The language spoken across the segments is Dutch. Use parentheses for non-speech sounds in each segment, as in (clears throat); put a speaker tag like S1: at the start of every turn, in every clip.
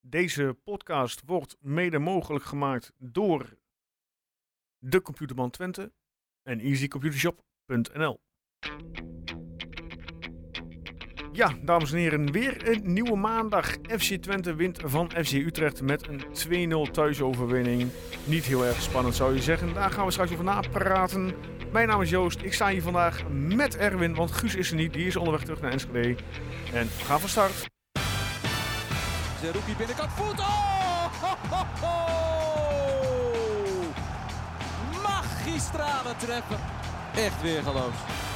S1: Deze podcast wordt mede mogelijk gemaakt door de Computerman Twente en easycomputershop.nl. Ja, dames en heren, weer een nieuwe maandag. FC Twente wint van FC Utrecht met een 2-0 thuisoverwinning. Niet heel erg spannend zou je zeggen. Daar gaan we straks over napraten. Mijn naam is Joost. Ik sta hier vandaag met Erwin, want Guus is er niet. Die is onderweg terug naar Enschede. En we gaan van start.
S2: Zerouki binnenkant voet. Oh! Ho, ho, ho! Magistrale treppen. Echt weer geloof.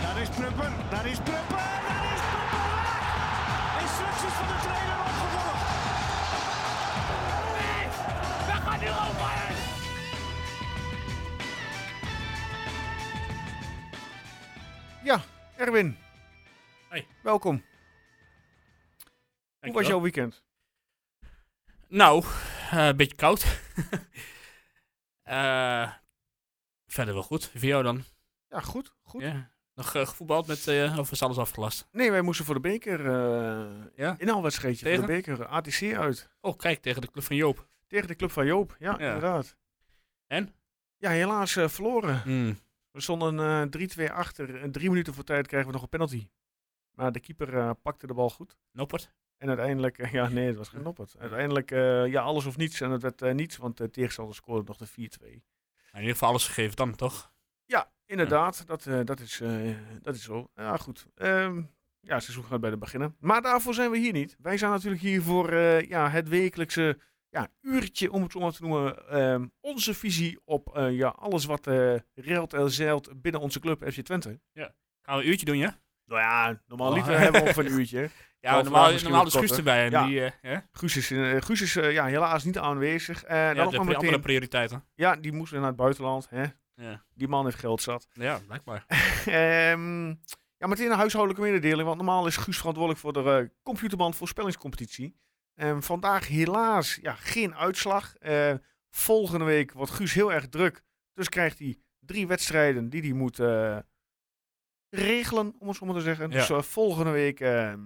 S3: Daar is Prupper, daar is Prupper, daar is Prupper! Instructies van de trainer opgevolgd. We gaan nu over!
S1: Ja, Erwin.
S4: Hey.
S1: Welkom. Hoe was
S4: Dankjewel.
S1: jouw weekend?
S4: Nou, eh, een beetje koud. (laughs) Eh, verder wel goed. Voor jou dan?
S1: Ja, goed. goed.
S4: Ja. Nog eh, gevoetbald met, eh of is alles afgelast?
S1: Nee, wij moesten voor de beker. eh
S4: Ja?
S1: Inhaalwedstrijdje voor de
S4: Tegen?
S1: beker. ATC uit.
S4: Oh, kijk, tegen de club van Joop.
S1: Tegen de club van Joop. Ja,
S4: Ja.
S1: inderdaad.
S4: En?
S1: Ja, helaas eh, verloren.
S4: Hmm.
S1: We stonden eh 3-2 achter. En drie minuten voor tijd krijgen we nog een penalty. Maar de keeper eh, pakte de bal goed.
S4: Noppert.
S1: En uiteindelijk, eh, (laughs) ja nee, het was geen noppert. Uiteindelijk, eh, ja, alles of niets. En het werd eh, niets, want de tegenstander scoorde nog de 4-2.
S4: Nou, in ieder geval alles gegeven dan, toch?
S1: Ja, inderdaad. Dat, eh, dat, is, eh, dat is zo. Ja, goed. Ehm, ja, het seizoen gaat bij de beginnen. Maar daarvoor zijn we hier niet. Wij zijn natuurlijk hier voor eh, ja, het wekelijkse ja, uurtje, om het zo maar te noemen. ehm, onze visie op eh, ja, alles wat eh reilt en zeilt binnen onze club FC Twente.
S4: Gaan we een uurtje doen, ja?
S1: Nou ja, normaal
S4: Oh.
S1: liever hebben we over
S4: (laughs)
S1: een uurtje.
S4: Ja,
S1: Oh, vandaag
S4: normaal,
S1: misschien
S4: normaal
S1: wat
S4: is Guus
S1: korter.
S4: erbij. En
S1: Ja.
S4: die, eh, hè?
S1: Guus is, eh, Guus is eh, ja, helaas niet aanwezig. Eh,
S4: ja,
S1: dan ook
S4: de
S1: maar
S4: pri- andere
S1: meteen,
S4: prioriteiten.
S1: ja, die moest weer naar het buitenland. Hè?
S4: Ja.
S1: Die man heeft geld zat.
S4: ja, blijkbaar.
S1: Ehm, ja, meteen een huishoudelijke mededeling. Want normaal is Guus verantwoordelijk voor de computerband computerband voorspellingscompetitie. Ehm, vandaag helaas ja, geen uitslag. Eh, volgende week wordt Guus heel erg druk. Dus krijgt hij drie wedstrijden die hij moet eh, regelen, om het zo maar te zeggen.
S4: Ja.
S1: Dus eh, volgende week ehm,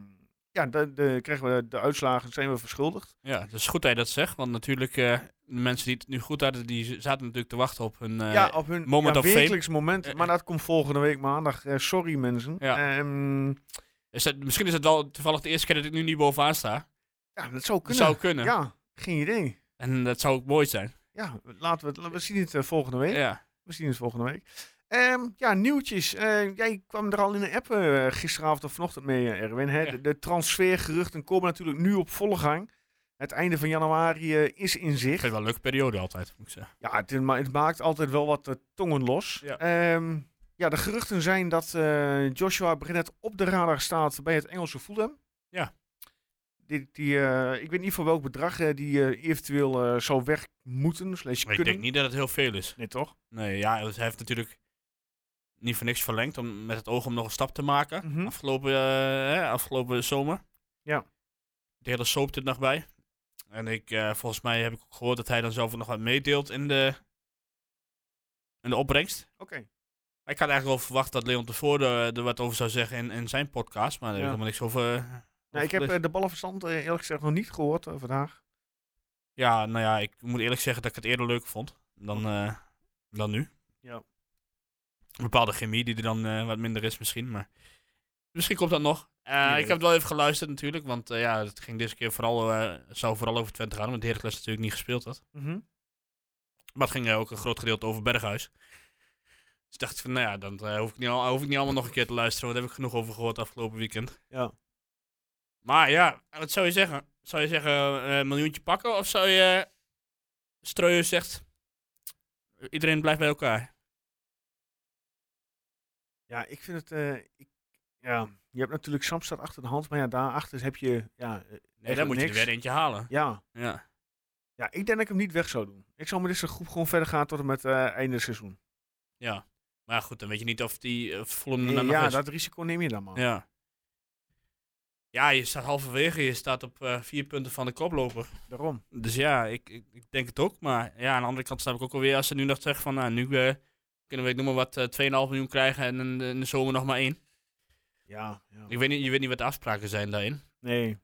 S1: ja, de, de- krijgen we de uitslagen, zijn we verschuldigd.
S4: Ja, het is goed dat je dat zegt. Want natuurlijk, eh, de mensen die het nu goed hadden, die z- zaten natuurlijk te wachten op hun... eh,
S1: ja, op hun
S4: moment
S1: ja,
S4: of fame.
S1: wekelijks moment.
S4: Eh,
S1: Maar dat komt volgende week maandag. Eh, sorry mensen.
S4: Ja.
S1: Ehm,
S4: is dat- misschien is het wel toevallig de eerste keer dat ik nu niet bovenaan sta.
S1: ja dat zou
S4: Dat
S1: kunnen.
S4: zou kunnen.
S1: Ja, geen idee.
S4: En dat zou ook mooi zijn.
S1: Ja, laten we, het- we zien het eh, volgende week.
S4: Ja.
S1: We zien het volgende week. Ehm, ja, nieuwtjes. Eh, jij kwam er al in de app eh, gisteravond of vanochtend mee, eh, Erwin. Hè?
S4: Ja.
S1: De, de transfergeruchten komen natuurlijk nu op volle gang. Het einde van januari eh, is in
S4: Ik
S1: zicht.
S4: vind het wel een leuke periode altijd, moet ik zeggen.
S1: Ja, het, ma- het maakt altijd wel wat eh, tongen los.
S4: Ja.
S1: Ehm, ja, de geruchten zijn dat eh, Joshua Brennett op de radar staat bij het Engelse Fulham.
S4: Ja.
S1: Die, die, eh, ik weet niet voor welk bedrag eh, die eh, eventueel eh, zou weg moeten. Slash
S4: Maar
S1: kunnen.
S4: ik denk niet dat het heel veel is.
S1: Nee, toch?
S4: Nee, ja, hij heeft natuurlijk niet voor niks verlengd om, met het oog om nog een stap te maken.
S1: Mhm.
S4: afgelopen, eh, hè, afgelopen zomer.
S1: Ja.
S4: De hele soap er nog bij. En ik, eh, volgens mij heb ik ook gehoord dat hij dan zelf nog wat meedeelt in de, in de opbrengst.
S1: Oké.
S4: Ik had eigenlijk wel verwacht dat Leon tevoren eh, er, er wat over zou zeggen in, in zijn podcast. Maar daar
S1: Ja.
S4: heb ik helemaal niks over. eh,
S1: Nou, ik
S4: over
S1: heb
S4: gelezen.
S1: eh, de ballenverstand eh, eerlijk gezegd nog niet gehoord eh, vandaag.
S4: Ja, nou ja, ik moet eerlijk zeggen dat ik het eerder leuk vond dan, eh, dan nu.
S1: Ja.
S4: Een bepaalde chemie die er dan eh, wat minder is misschien, maar misschien komt dat nog. Eh,
S1: Wie weet.
S4: ik heb het wel even geluisterd natuurlijk, want eh, ja, het ging deze keer vooral, eh, het zou vooral over Twente gaan, want Heracles natuurlijk niet gespeeld had. Maar het ging eh, ook een groot gedeelte over Berghuis. Dus dacht ik van, nou ja, dan eh, hoef, ik niet al, hoef ik niet allemaal nog een keer te luisteren, want daar heb ik genoeg over gehoord afgelopen weekend.
S1: Ja.
S4: Maar ja, wat zou je zeggen? Zou je zeggen eh, een miljoentje pakken? Of zou je Streuer zegt, iedereen blijft bij elkaar?
S1: Ja, ik vind het... eh, ik, ja, je hebt natuurlijk Samstad achter de hand, maar ja, daarachter heb je... Ja, eh,
S4: Nee,
S1: echt
S4: dan moet je
S1: niks.
S4: er weer eentje halen.
S1: Ja.
S4: Ja.
S1: ja, ik denk dat ik hem niet weg zou doen. Ik zou met deze groep gewoon verder gaan tot en met eh, einde seizoen.
S4: ja. Maar goed, dan weet je niet of die eh Fulham er
S1: Eh,
S4: dan nog
S1: ja,
S4: is.
S1: dat risico neem je dan maar.
S4: Ja. Ja, je staat halverwege. Je staat op eh, vier punten van de koploper.
S1: Daarom.
S4: Dus ja, ik, ik, ik denk het ook. Maar ja, aan de andere kant snap ik ook alweer als ze nu nog zeggen van... Nou, nu eh, kunnen we, ik noem maar wat, eh, 2,5 miljoen krijgen en in de, in de zomer nog maar één.
S1: Ja, ja.
S4: Ik weet niet, je weet niet wat de afspraken zijn daarin.
S1: Nee.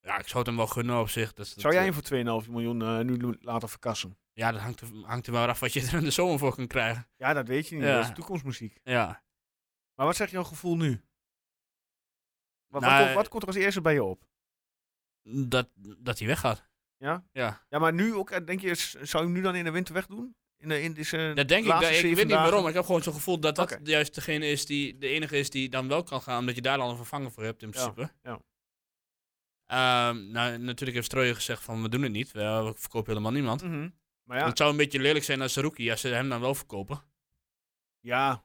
S4: Ja, ik zou het hem wel gunnen op zich. Dus dat,
S1: Zou jij
S4: eh,
S1: hem voor 2,5 miljoen eh, nu laten verkassen?
S4: Ja, dat hangt er, hangt er wel af wat je (laughs) er in de zomer voor kan krijgen.
S1: Ja, dat weet je niet.
S4: Ja.
S1: Dat is toekomstmuziek.
S4: Ja.
S1: Maar wat zegt jouw gevoel nu? Wat, wat,
S4: Nou,
S1: komt- wat komt er als eerste bij je op?
S4: Dat, dat hij weggaat.
S1: Ja?
S4: Ja.
S1: Ja, maar nu ook, eh, denk je, s- zou je hem nu dan in de winter wegdoen? In, de, in deze
S4: Dat denk ik.
S1: laatste
S4: dat- ik weet
S1: zeven
S4: niet
S1: dagen?
S4: waarom. maar Ik heb gewoon zo'n gevoel dat dat
S1: Oké.
S4: juist degene is die de enige is die dan wel kan gaan. Omdat je daar dan een vervanger voor hebt in
S1: Ja,
S4: principe.
S1: ja.
S4: Ehm, nou, natuurlijk heeft Strooijen gezegd van we doen het niet. We, we verkopen helemaal niemand.
S1: Mhm. Maar ja,
S4: Het zou een beetje lelijk zijn als Rookie als ze hem dan wel verkopen.
S1: ja,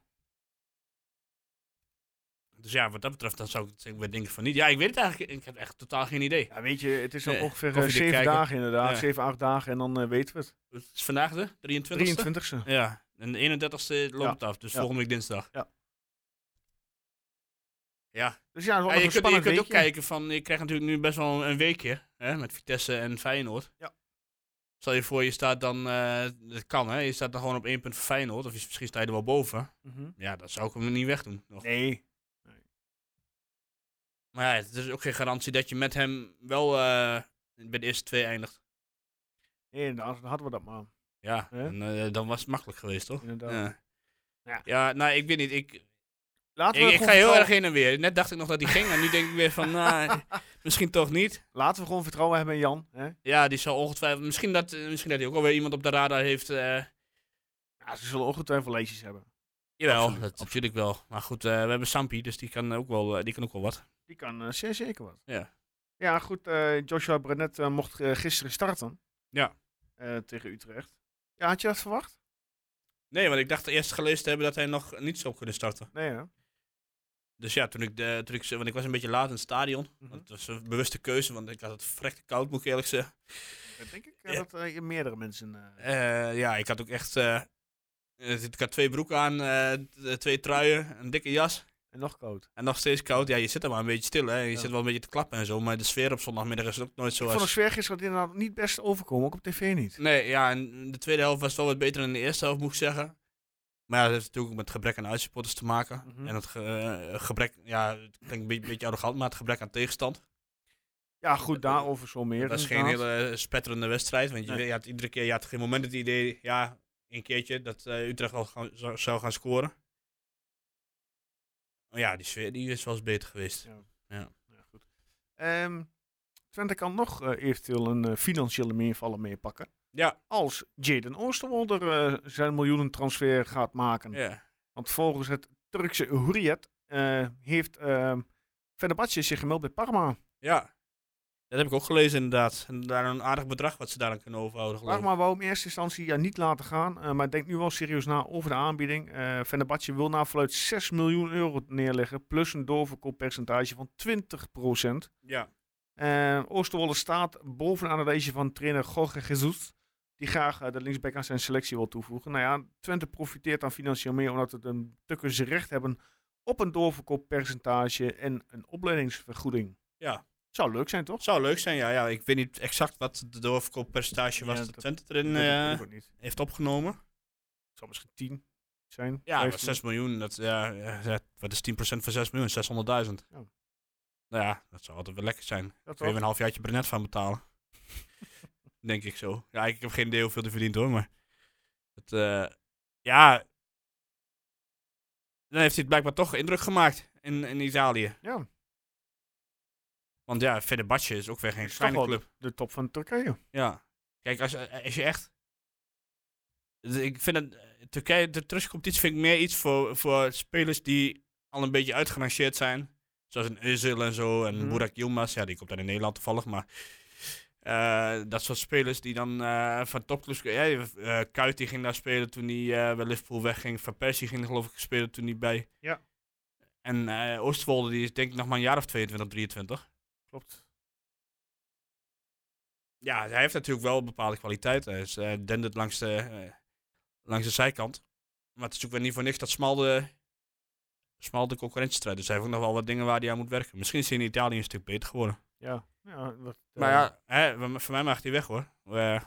S4: Dus ja, wat dat betreft, dan zou ik het- ik weer denken van niet. Ja, ik weet het eigenlijk. Ik heb echt totaal geen idee.
S1: ja, weet je, het is nog
S4: Eh,
S1: ongeveer eh,
S4: koffiedik
S1: zeven
S4: kijken.
S1: dagen inderdaad.
S4: Ja.
S1: Zeven, acht dagen en dan eh, weten we het.
S4: Het is vandaag de 23 e
S1: 23e.
S4: Ja, en de 31ste loopt
S1: Ja.
S4: het af, dus
S1: Ja.
S4: volgende week dinsdag.
S1: Ja.
S4: Ja,
S1: Dus ja, het wordt
S4: en
S1: nog
S4: je
S1: een
S4: kunt, je
S1: spannend
S4: kunt ook
S1: weekje.
S4: kijken van, je krijgt natuurlijk nu best wel een weekje hè, met Vitesse en Feyenoord.
S1: Ja.
S4: Stel je voor, je staat dan, eh dat kan hè, je staat dan gewoon op één punt van Feyenoord, of je- misschien sta je er wel boven.
S1: Mhm.
S4: Ja, dat zou ik hem niet wegdoen. Nog.
S1: Nee,
S4: Maar ja, het is ook geen garantie dat je met hem wel eh, bij de eerste twee eindigt.
S1: nee, inderdaad, dan hadden we dat maar.
S4: Ja,
S1: Hè?
S4: en, eh, dan was het makkelijk geweest, toch?
S1: Inderdaad.
S4: Ja.
S1: Ja.
S4: ja, nou, ik weet niet, ik,
S1: Laten we
S4: Ik, ik
S1: gewoon
S4: ga heel
S1: vertrouwen-
S4: erg heen en weer. Net dacht ik nog dat hij ging, maar nu denk ik weer van, (laughs) nou, misschien toch niet.
S1: Laten we gewoon vertrouwen hebben in Jan. Hè?
S4: Ja, die zal ongetwijfeld. Misschien dat, eh, misschien dat hij ook alweer iemand op de radar heeft. eh
S1: Ja, ze zullen ongetwijfeld lijstjes hebben.
S4: jawel,
S1: Absoluut,
S4: dat natuurlijk wel. Maar goed, eh, we hebben Sampi, dus die kan ook wel, eh, die kan ook wel wat.
S1: Die kan eh, zeer zeker wat.
S4: Ja.
S1: Ja, goed. eh, Joshua Brenet eh, mocht eh, gisteren starten.
S4: Ja.
S1: Eh, tegen Utrecht. Ja, had je dat verwacht?
S4: Nee, want ik dacht eerst gelezen te hebben dat hij nog niet zou kunnen starten.
S1: Nee, hè?
S4: Dus ja, toen ik, de, toen ik, ze- want ik was een beetje laat in het stadion.
S1: Mhm.
S4: Dat was een bewuste keuze, want ik had het verrekte koud, moet ik eerlijk zeggen.
S1: Dat denk ik eh,
S4: Ja.
S1: dat eh, meerdere mensen... eh,
S4: Eh, ja, ik had ook echt. eh, eh, ik had twee broeken aan, eh, t- twee truien, een dikke jas.
S1: en nog koud.
S4: En nog steeds koud. Ja, je zit er maar een beetje stil, hè. Je
S1: Ja.
S4: zit wel een beetje te klappen en zo. Maar de sfeer op zondagmiddag is ook nooit
S1: Ik
S4: zoals...
S1: vond de sfeer gisteren inderdaad niet best overkomen. Ook op tv niet.
S4: Nee, ja, en de tweede helft was wel wat beter dan de eerste helft, moet ik zeggen. Maar ja, dat heeft natuurlijk ook met gebrek aan uitsupporters te maken.
S1: Mhm.
S4: En het ge- eh, gebrek... Ja, het klinkt een beetje, beetje arrogant, maar het gebrek aan tegenstand.
S1: Ja, goed. Daarover zo meer.
S4: dat is geen
S1: inderdaad.
S4: hele eh, spetterende wedstrijd. Want je,
S1: Nee.
S4: weet- je had iedere keer... Je had geen moment het idee... Ja, een keertje dat eh, Utrecht al gaan- zou- zou gaan scoren. Maar ja, die sfeer die is wel eens beter geweest.
S1: Ja, goed. Ehm, Twente kan nog eh, eventueel een eh, financiële meervaller meepakken.
S4: Ja.
S1: Als Jaden Oosterwolder eh, zijn miljoenen transfer gaat maken.
S4: Ja.
S1: Want volgens het Turkse Hurriyet eh, heeft ehm Fenerbahce zich gemeld bij Parma.
S4: Ja. Dat heb ik ook gelezen inderdaad. En daar een aardig bedrag wat ze daar aan kunnen overhouden geloof ik.
S1: Parma wou hem in eerste instantie ja, niet laten gaan, eh, maar denkt nu wel serieus na over de aanbieding. Eh Fenerbahce wil naar verluid 6 miljoen euro neerleggen, plus een doorverkooppercentage van 20%.
S4: Ja.
S1: Eh, Oosterwolde staat bovenaan het lijstje van trainer Jorge Jesus. Die graag eh, de linksback aan zijn selectie wil toevoegen. Nou ja, Twente profiteert dan financieel meer omdat het een tukkers recht hebben op een doorverkooppercentage en een opleidingsvergoeding.
S4: Ja.
S1: Zou leuk zijn, toch?
S4: Zou leuk zijn, ja, ja. Ik weet niet exact wat de doorverkooppercentage was
S1: Ja,
S4: dat
S1: dat-
S4: Twente erin
S1: Dat weet ik-
S4: eh,
S1: weet ik ook niet. Het
S4: heeft opgenomen.
S1: zou misschien 10 zijn.
S4: Ja, maar
S1: 15.
S4: 6 miljoen, dat, ja, ja, ja, wat is 10% van 6 miljoen? 600.000.
S1: Ja.
S4: Nou ja, dat zou altijd wel lekker zijn. Kun
S1: Dat
S4: je weer
S1: wel.
S4: een halfjaartje Brenet van betalen. (laughs) Denk ik zo. Ja, ik heb geen idee hoeveel hij verdient hoor, maar... Het, eh, ja... Dan heeft hij het blijkbaar toch indruk gemaakt in, in Italië.
S1: Ja,
S4: Want ja, Fenerbahce is ook weer geen
S1: is toch
S4: kleine
S1: wel
S4: club.
S1: de, de top van Turkije.
S4: Ja. Kijk, als, als je echt... Dus Ik vind het... Turkije, de Turkse competitie vind ik meer iets voor, voor spelers die al een beetje uitgerangeerd zijn. Zoals een Özil en zo. En
S1: Mhm.
S4: Burak Yilmaz. Ja, die komt dan in Nederland toevallig. Maar eh, dat soort spelers die dan eh, van topclubs... Ja, eh, Kuyt die ging daar spelen toen hij eh, bij Liverpool wegging. Van Persie ging er geloof ik spelen toen hij bij...
S1: Ja.
S4: En eh Oostwolde die is denk ik nog maar een jaar of 22, 23.
S1: Klopt.
S4: ja, hij heeft natuurlijk wel bepaalde kwaliteiten. Hij is, eh, dendert langs de, eh, langs de zijkant. Maar het is natuurlijk weer niet voor niks dat smal de, smal de concurrentiestrijd. Dus hij heeft ook nog wel wat dingen waar hij aan moet werken. Misschien is hij in Italië een stuk beter geworden.
S1: Ja. ja wat, eh,
S4: Maar ja, hè, wa- voor mij mag hij weg hoor. Eh,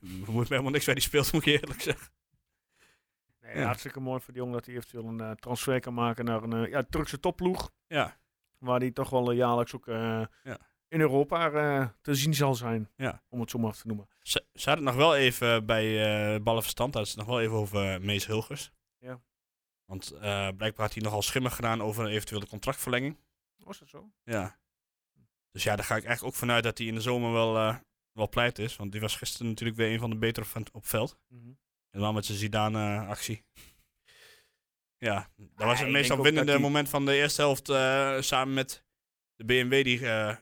S4: We (laughs) moeten me helemaal niks bij die speelt, moet ik eerlijk zeggen.
S1: nee,
S4: ja.
S1: Hartstikke mooi voor die jongen dat hij eventueel een eh, transfer kan maken naar een eh, ja, Turkse topploeg.
S4: Ja.
S1: Waar hij toch wel eh, jaarlijks ook eh,
S4: Ja.
S1: in Europa eh, te zien zal zijn.
S4: Ja.
S1: Om het zo maar te noemen.
S4: Ze, ze hadden het nog wel even bij eh Ballenverstand, hadden ze het nog wel even over eh, Mees Hilgers.
S1: Ja.
S4: Want eh, blijkbaar had hij nogal schimmig gedaan over een eventuele contractverlenging.
S1: Was dat zo?
S4: Ja. Dus ja, daar ga ik eigenlijk ook vanuit dat hij in de zomer wel, eh, wel pleit is. Want die was gisteren natuurlijk weer een van de betere van het- op veld.
S1: Mhm.
S4: Helemaal met zijn Zidane-actie. Ja, dat was
S1: ik
S4: het
S1: denk
S4: meest
S1: ook dat
S4: winnende
S1: die-
S4: moment van de eerste helft. eh, samen met de BMW die... eh,
S1: Dat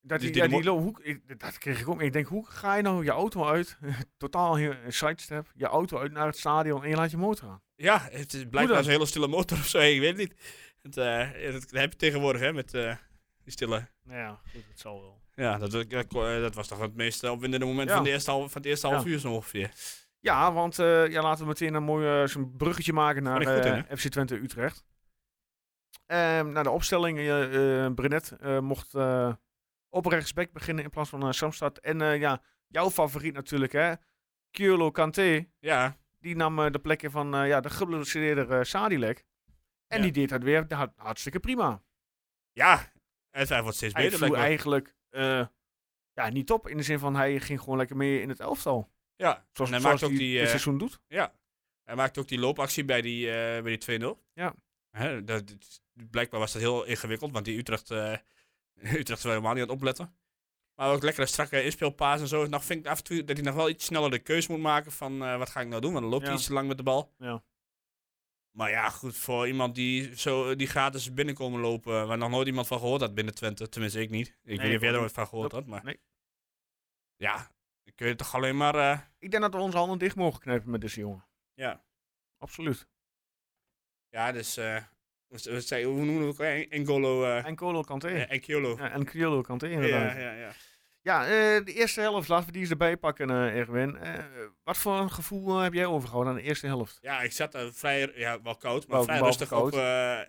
S4: Dus
S1: die,
S4: die
S1: ja, die
S4: mo-
S1: lo- hoe, ik- dat kreeg ik ook mee. Ik denk, hoe ga je nou je auto uit? (laughs) Totaal heel- een sidestep. Je auto uit naar het stadion en je laat je motor aan.
S4: ja, het is
S1: Hoe
S4: blijkbaar
S1: dan?
S4: zo'n hele stille motor (laughs) of zo. Ik weet het niet. Het, eh, dat heb je tegenwoordig, hè, met eh, die stille...
S1: Nou ja, goed, het zal wel.
S4: Ja, dat, dat, dat was toch het meest eh, opwindende moment
S1: Ja.
S4: van, de eerste half, van het eerste half
S1: Ja.
S4: uur zo ongeveer.
S1: Ja, want eh, ja, laten we meteen een mooi eh, zo'n bruggetje maken naar
S4: Ben ik goed in,
S1: eh, FC Twente Utrecht. Ehm naar de opstelling, eh eh Brenet eh, mocht eh, op rechtsback beginnen in plaats van eh, Samstad. En eh, ja, jouw favoriet natuurlijk hè, Kyolo Kanté.
S4: Ja,
S1: Die nam eh, de plekken van eh, ja, de geblesseerde eh, Sadilek. En
S4: Ja.
S1: die deed dat weer hart- hartstikke prima.
S4: Ja, het, hij wordt steeds
S1: Hij
S4: beter.
S1: viel
S4: blijkbaar.
S1: eigenlijk eh, ja, niet op. In de zin van hij ging gewoon lekker mee in het elftal.
S4: ja,
S1: Zoals,
S4: en hij
S1: zoals
S4: maakt
S1: hij
S4: ook die,
S1: dit
S4: eh,
S1: seizoen doet.
S4: ja, hij maakt ook die loopactie bij die, eh, bij die 2-0.
S1: Ja.
S4: Hè, dat, blijkbaar was dat heel ingewikkeld, want die Utrecht, eh (laughs) Utrecht was helemaal niet aan het opletten. Maar ook lekkere strakke inspeelpaas en zo. Nog vind ik af en toe dat hij nog wel iets sneller de keus moet maken van eh, wat ga ik nou doen, want dan loopt hij
S1: Ja.
S4: iets te lang met de bal.
S1: Ja.
S4: Maar ja, goed, voor iemand die, zo, die gratis binnenkomen lopen, waar nog nooit iemand van gehoord had binnen Twente. Tenminste, ik niet. Ik weet niet
S1: ik
S4: of jij er
S1: ook
S4: ooit van gehoord had, maar...
S1: Nee.
S4: Ja, dan kun je toch alleen maar... eh,
S1: Ik denk dat we onze handen dicht mogen knijpen met deze jongen.
S4: Ja.
S1: Absoluut.
S4: Ja, dus. eh, wat- wat zei- hoe noemen we het? Engolo. eh
S1: En Colo Kanté.
S4: eh, Enkiolo.
S1: Ja, en Kyolo Kanté
S4: Ja,
S1: inderdaad.
S4: ja,
S1: Ja,
S4: ja, ja.
S1: eh, de eerste helft, laten we die eens erbij pakken, eh, Erwin. Eh, wat voor een gevoel eh, heb jij overgehouden aan de eerste helft?
S4: Ja, ik zat eh, vrij. Ja, wel koud, maar
S1: Wel-
S4: vrij
S1: wel
S4: rustig
S1: koud.
S4: op. eh,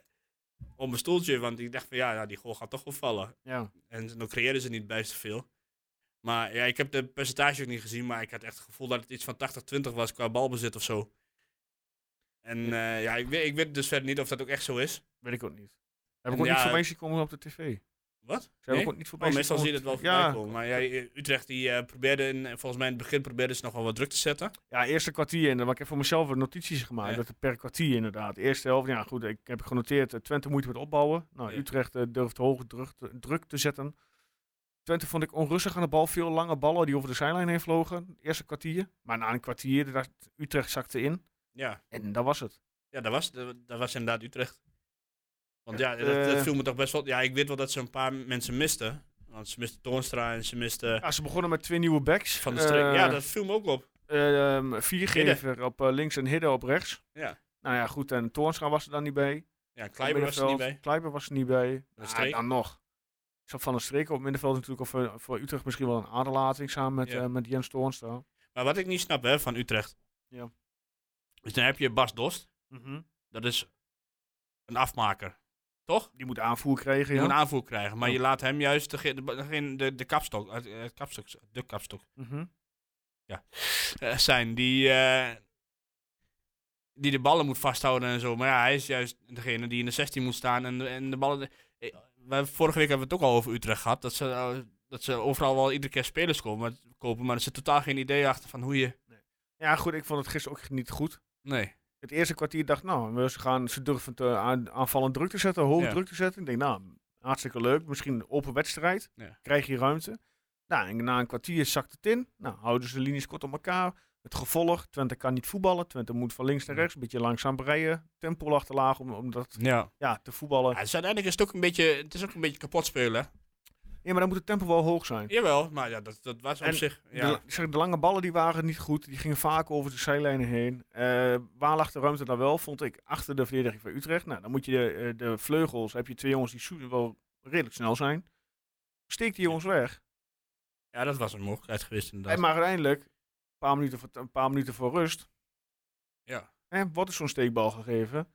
S4: op mijn stoeltje, want ik dacht van ja, nou, die goal gaat toch wel vallen.
S1: Ja.
S4: En dan creëerden ze niet bijster veel. Maar ja, ik heb de percentage ook niet gezien, maar ik had echt het gevoel dat het iets van 80-20 was qua balbezit of zo. En eh, ja, ik weet, ik weet dus verder niet of dat ook echt zo is.
S1: Weet ik ook niet. Heb ik
S4: En
S1: ook niet
S4: ja,
S1: voorbij zien komen op de tv. Ze
S4: Wat?
S1: hebben
S4: Nee?
S1: ook niet voorbij
S4: Oh,
S1: zien
S4: meestal
S1: komen
S4: zie je het wel
S1: op de tv. Ja,
S4: voorbij komen. Maar ja, Utrecht die eh, probeerde, in, volgens mij in het begin probeerde ze nog wel wat druk te zetten.
S1: Ja, eerste kwartier. En dan- want ik heb voor mezelf wat notities gemaakt.
S4: Ja.
S1: Dat het per kwartier inderdaad. Eerste helft, ja goed, ik heb genoteerd. eh, Twente moeite met opbouwen. Nou,
S4: Ja.
S1: Utrecht eh, durft hoge druk te, druk te zetten. Twente vond ik onrustig aan de bal. Veel lange ballen die over de zijlijn heen vlogen. Eerste kwartier. Maar na een kwartier, dacht, Utrecht zakte in.
S4: Ja,
S1: En dat was het.
S4: ja dat, was, dat, dat was inderdaad Utrecht. Want ja, dat, dat
S1: eh,
S4: viel me toch best wel... Ja, ik weet wel dat ze een paar mensen misten. Want ze misten Toornstra en ze misten
S1: Ja, ze begonnen met twee nieuwe backs.
S4: Van de Streek.
S1: Eh,
S4: ja, dat viel me ook op.
S1: eh, ehm, viergever op eh, links en Hidde op rechts.
S4: Ja.
S1: Nou ja, goed. En Toornstra was er dan niet bij.
S4: Ja, Kleiber was er niet bij.
S1: Kleiber was er niet bij.
S4: der
S1: Ah,
S4: Streek.
S1: dan nog. Ik zat van de streek op middenveld natuurlijk. Of eh, voor Utrecht misschien wel een aderlating samen met,
S4: Ja.
S1: eh, met Jens Toornstra.
S4: Maar wat ik niet snap hè, van Utrecht...
S1: Ja.
S4: Dus dan heb je Bas Dost. Dat is een afmaker. Toch?
S1: Die moet aanvoer krijgen.
S4: Je
S1: Ja. Oh.
S4: moet een aanvoer krijgen. Maar
S1: Ja.
S4: je laat hem juist de, de, de, de kapstok... eh, eh, kapstok de kapstok
S1: Mhm.
S4: eh, zijn die, eh, die de ballen moet vasthouden en zo. Maar ja, hij is juist degene die in de 16 moet staan en, de- en de ballen. Eh, wij- vorige week hebben we het ook al over Utrecht gehad. Dat ze, eh, dat ze overal wel iedere keer spelers komen, maar- kopen, maar er zit totaal geen idee achter van hoe je.
S1: ja, goed. Ik vond het gisteren ook niet goed.
S4: Nee.
S1: Het eerste kwartier dacht nou, we- ze, gaan, ze durven het eh, aan, aanvallend druk te zetten. Hoog
S4: Ja.
S1: druk te zetten. Ik denk, nou, hartstikke leuk. Misschien een open wedstrijd.
S4: Ja.
S1: Krijg je ruimte. Nou, en na een kwartier zakt het in. Nou, houden ze de linies kort op elkaar. Het gevolg, Twente kan niet voetballen. Twente moet van links naar
S4: Ja.
S1: rechts. Een beetje langzaam breien. Tempo lag te laag om, om dat
S4: Ja.
S1: ja, te voetballen.
S4: het is uiteindelijk is het ook een beetje, het is ook een beetje kapot spelen. hè?
S1: Ja, maar dan moet het tempo wel hoog zijn.
S4: Jawel, maar ja, dat, dat was op
S1: En
S4: zich.
S1: De,
S4: Ja.
S1: ik zeg, de lange ballen die waren niet goed. Die gingen vaak over de zijlijnen heen. Eh, waar lag de ruimte dan wel, vond ik, achter de verdediging van Utrecht. Nou, dan moet je de, eh, de vleugels, heb je twee jongens die su- wel redelijk snel zijn. Steek die jongens weg.
S4: ja, dat was een mogelijkheid geweest
S1: En
S4: inderdaad.
S1: maar uiteindelijk, een paar minuten voor, een paar minuten voor rust,
S4: Ja.
S1: hè, wordt er zo'n steekbal gegeven.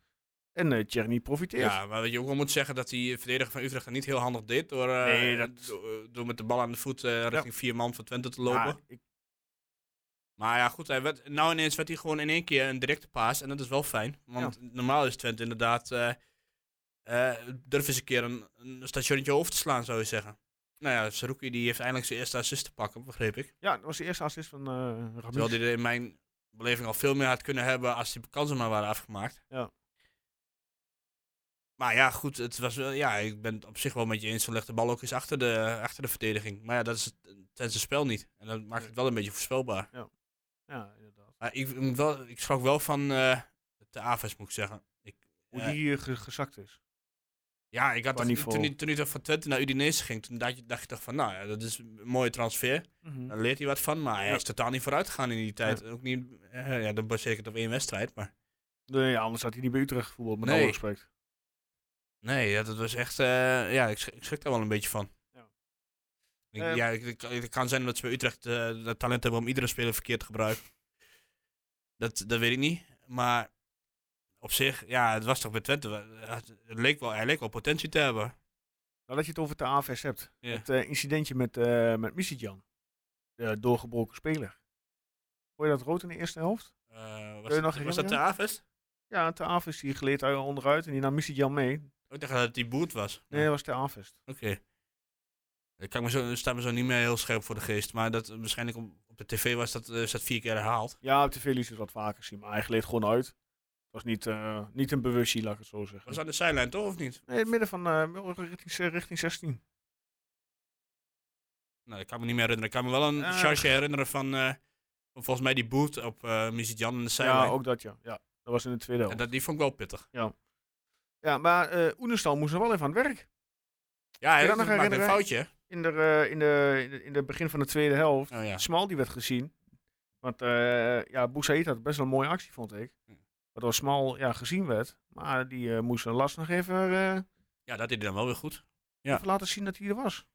S1: En eh Tjerni profiteert.
S4: Ja, maar wat je ook wel moet zeggen dat die verdediger van Utrecht dat niet heel handig deed. Door, eh,
S1: Nee, dat-
S4: door, door met de bal aan de voet eh, richting vier man van Twente te lopen.
S1: Ja, ik,
S4: Maar ja, goed, hij werd, nou ineens werd hij gewoon in één keer een directe paas. En dat is wel fijn. Want normaal is Twente inderdaad. eh eh durf eens een keer een, een stationnetje over te slaan, zou je zeggen. Nou ja, Saruki die heeft eindelijk zijn eerste assist te pakken, begreep ik.
S1: Ja, dat was de eerste assist van eh
S4: Terwijl
S1: Ramirez.
S4: hij er in mijn beleving al veel meer had kunnen hebben als die kansen maar waren afgemaakt.
S1: Ja.
S4: Maar ja, goed, het was wel, ja, ik ben het op zich wel met je eens. Zo legt de bal ook eens achter de, achter de verdediging. Maar ja, dat is het, het is het spel niet. En dat maakt het wel een beetje voorspelbaar.
S1: Ja, inderdaad.
S4: Maar ik, ik moet wel, ik schrok wel van eh, de Aves, moet ik zeggen. Ik,
S1: Hoe
S4: eh,
S1: die hier ge- gezakt is.
S4: ja, ik had
S1: Qua
S4: toch-
S1: niveau.
S4: toen, hij- toen hij toch van Twente naar Udinese ging, toen dacht, je- dacht ik toch van, nou ja, dat is een mooie transfer. Daar leert hij wat van, maar hij
S1: Ja.
S4: is totaal niet vooruit gegaan in die tijd. Ook niet, eh, ja, dat baseer ik het op één wedstrijd, maar...
S1: Nee, ja, anders had hij niet bij Utrecht gevoetbald, met
S4: Nee.
S1: alle respect.
S4: Nee, ja, dat was echt... eh, ja, ik, schrik- ik schrik daar wel een beetje van.
S1: Ja.
S4: Ik-
S1: Ehm.
S4: ja, ik- ik- het kan zijn dat ze bij Utrecht eh dat talent hebben om iedere speler verkeerd te gebruiken. Dat, dat weet ik niet. Maar op zich, ja, het was toch bij Twente... wel- Het, het leek wel, hij leek wel potentie te hebben.
S1: Nadat je het over de AFS hebt.
S4: Ja.
S1: Het eh, incidentje met, eh met Missidjan. De doorgebroken speler. Hoor je dat rood in de eerste helft?
S4: Eh, was,
S1: je
S4: dat-
S1: nog
S4: was dat de
S1: herinneren?
S4: Aves?
S1: Ja, de AFS die gleed daar onderuit en die nam Missidjan mee.
S4: Oh, Ik dacht dat het die Boert was. Ah,
S1: Nee, dat was de AFS.
S4: Oké. Dat kan ik me zo, staat me zo niet meer heel scherp voor de geest. Maar dat eh, waarschijnlijk op, op de tv was dat, eh, is dat vier keer herhaald.
S1: Ja, op tv liet ze het wat vaker zien, maar hij gleed gewoon uit. Het was niet, eh, niet een bewustzijn, laat ik het zo zeggen.
S4: Was aan de zijlijn toch of niet?
S1: Nee, in het midden van eh, richting, eh, richting 16.
S4: Nou, ik kan me niet meer herinneren. Ik kan me wel een
S1: Eh.
S4: charge herinneren van, eh, van volgens mij die boot op eh Jan en de zijlijn.
S1: Ja, ook dat ja. ja. Dat was in de tweede
S4: En
S1: helft.
S4: dat, die vond ik wel pittig.
S1: Ja, maar eh Oenestal moest nog wel even aan het werk.
S4: Ja, hij
S1: je dat nog
S4: maakte een
S1: herinneren?
S4: foutje. hè?
S1: In de, eh, in, de, in, de, in de begin van de tweede helft.
S4: Oh ja.
S1: Smal die werd gezien. Want eh ja, Boussaïd had best wel een mooie actie, vond ik.
S4: Ja.
S1: Waardoor Smal ja, gezien werd. Maar die eh, moest zijn last nog even, eh,
S4: ja, dat deed hij dan wel weer goed. Ja.
S1: even laten zien dat hij er was.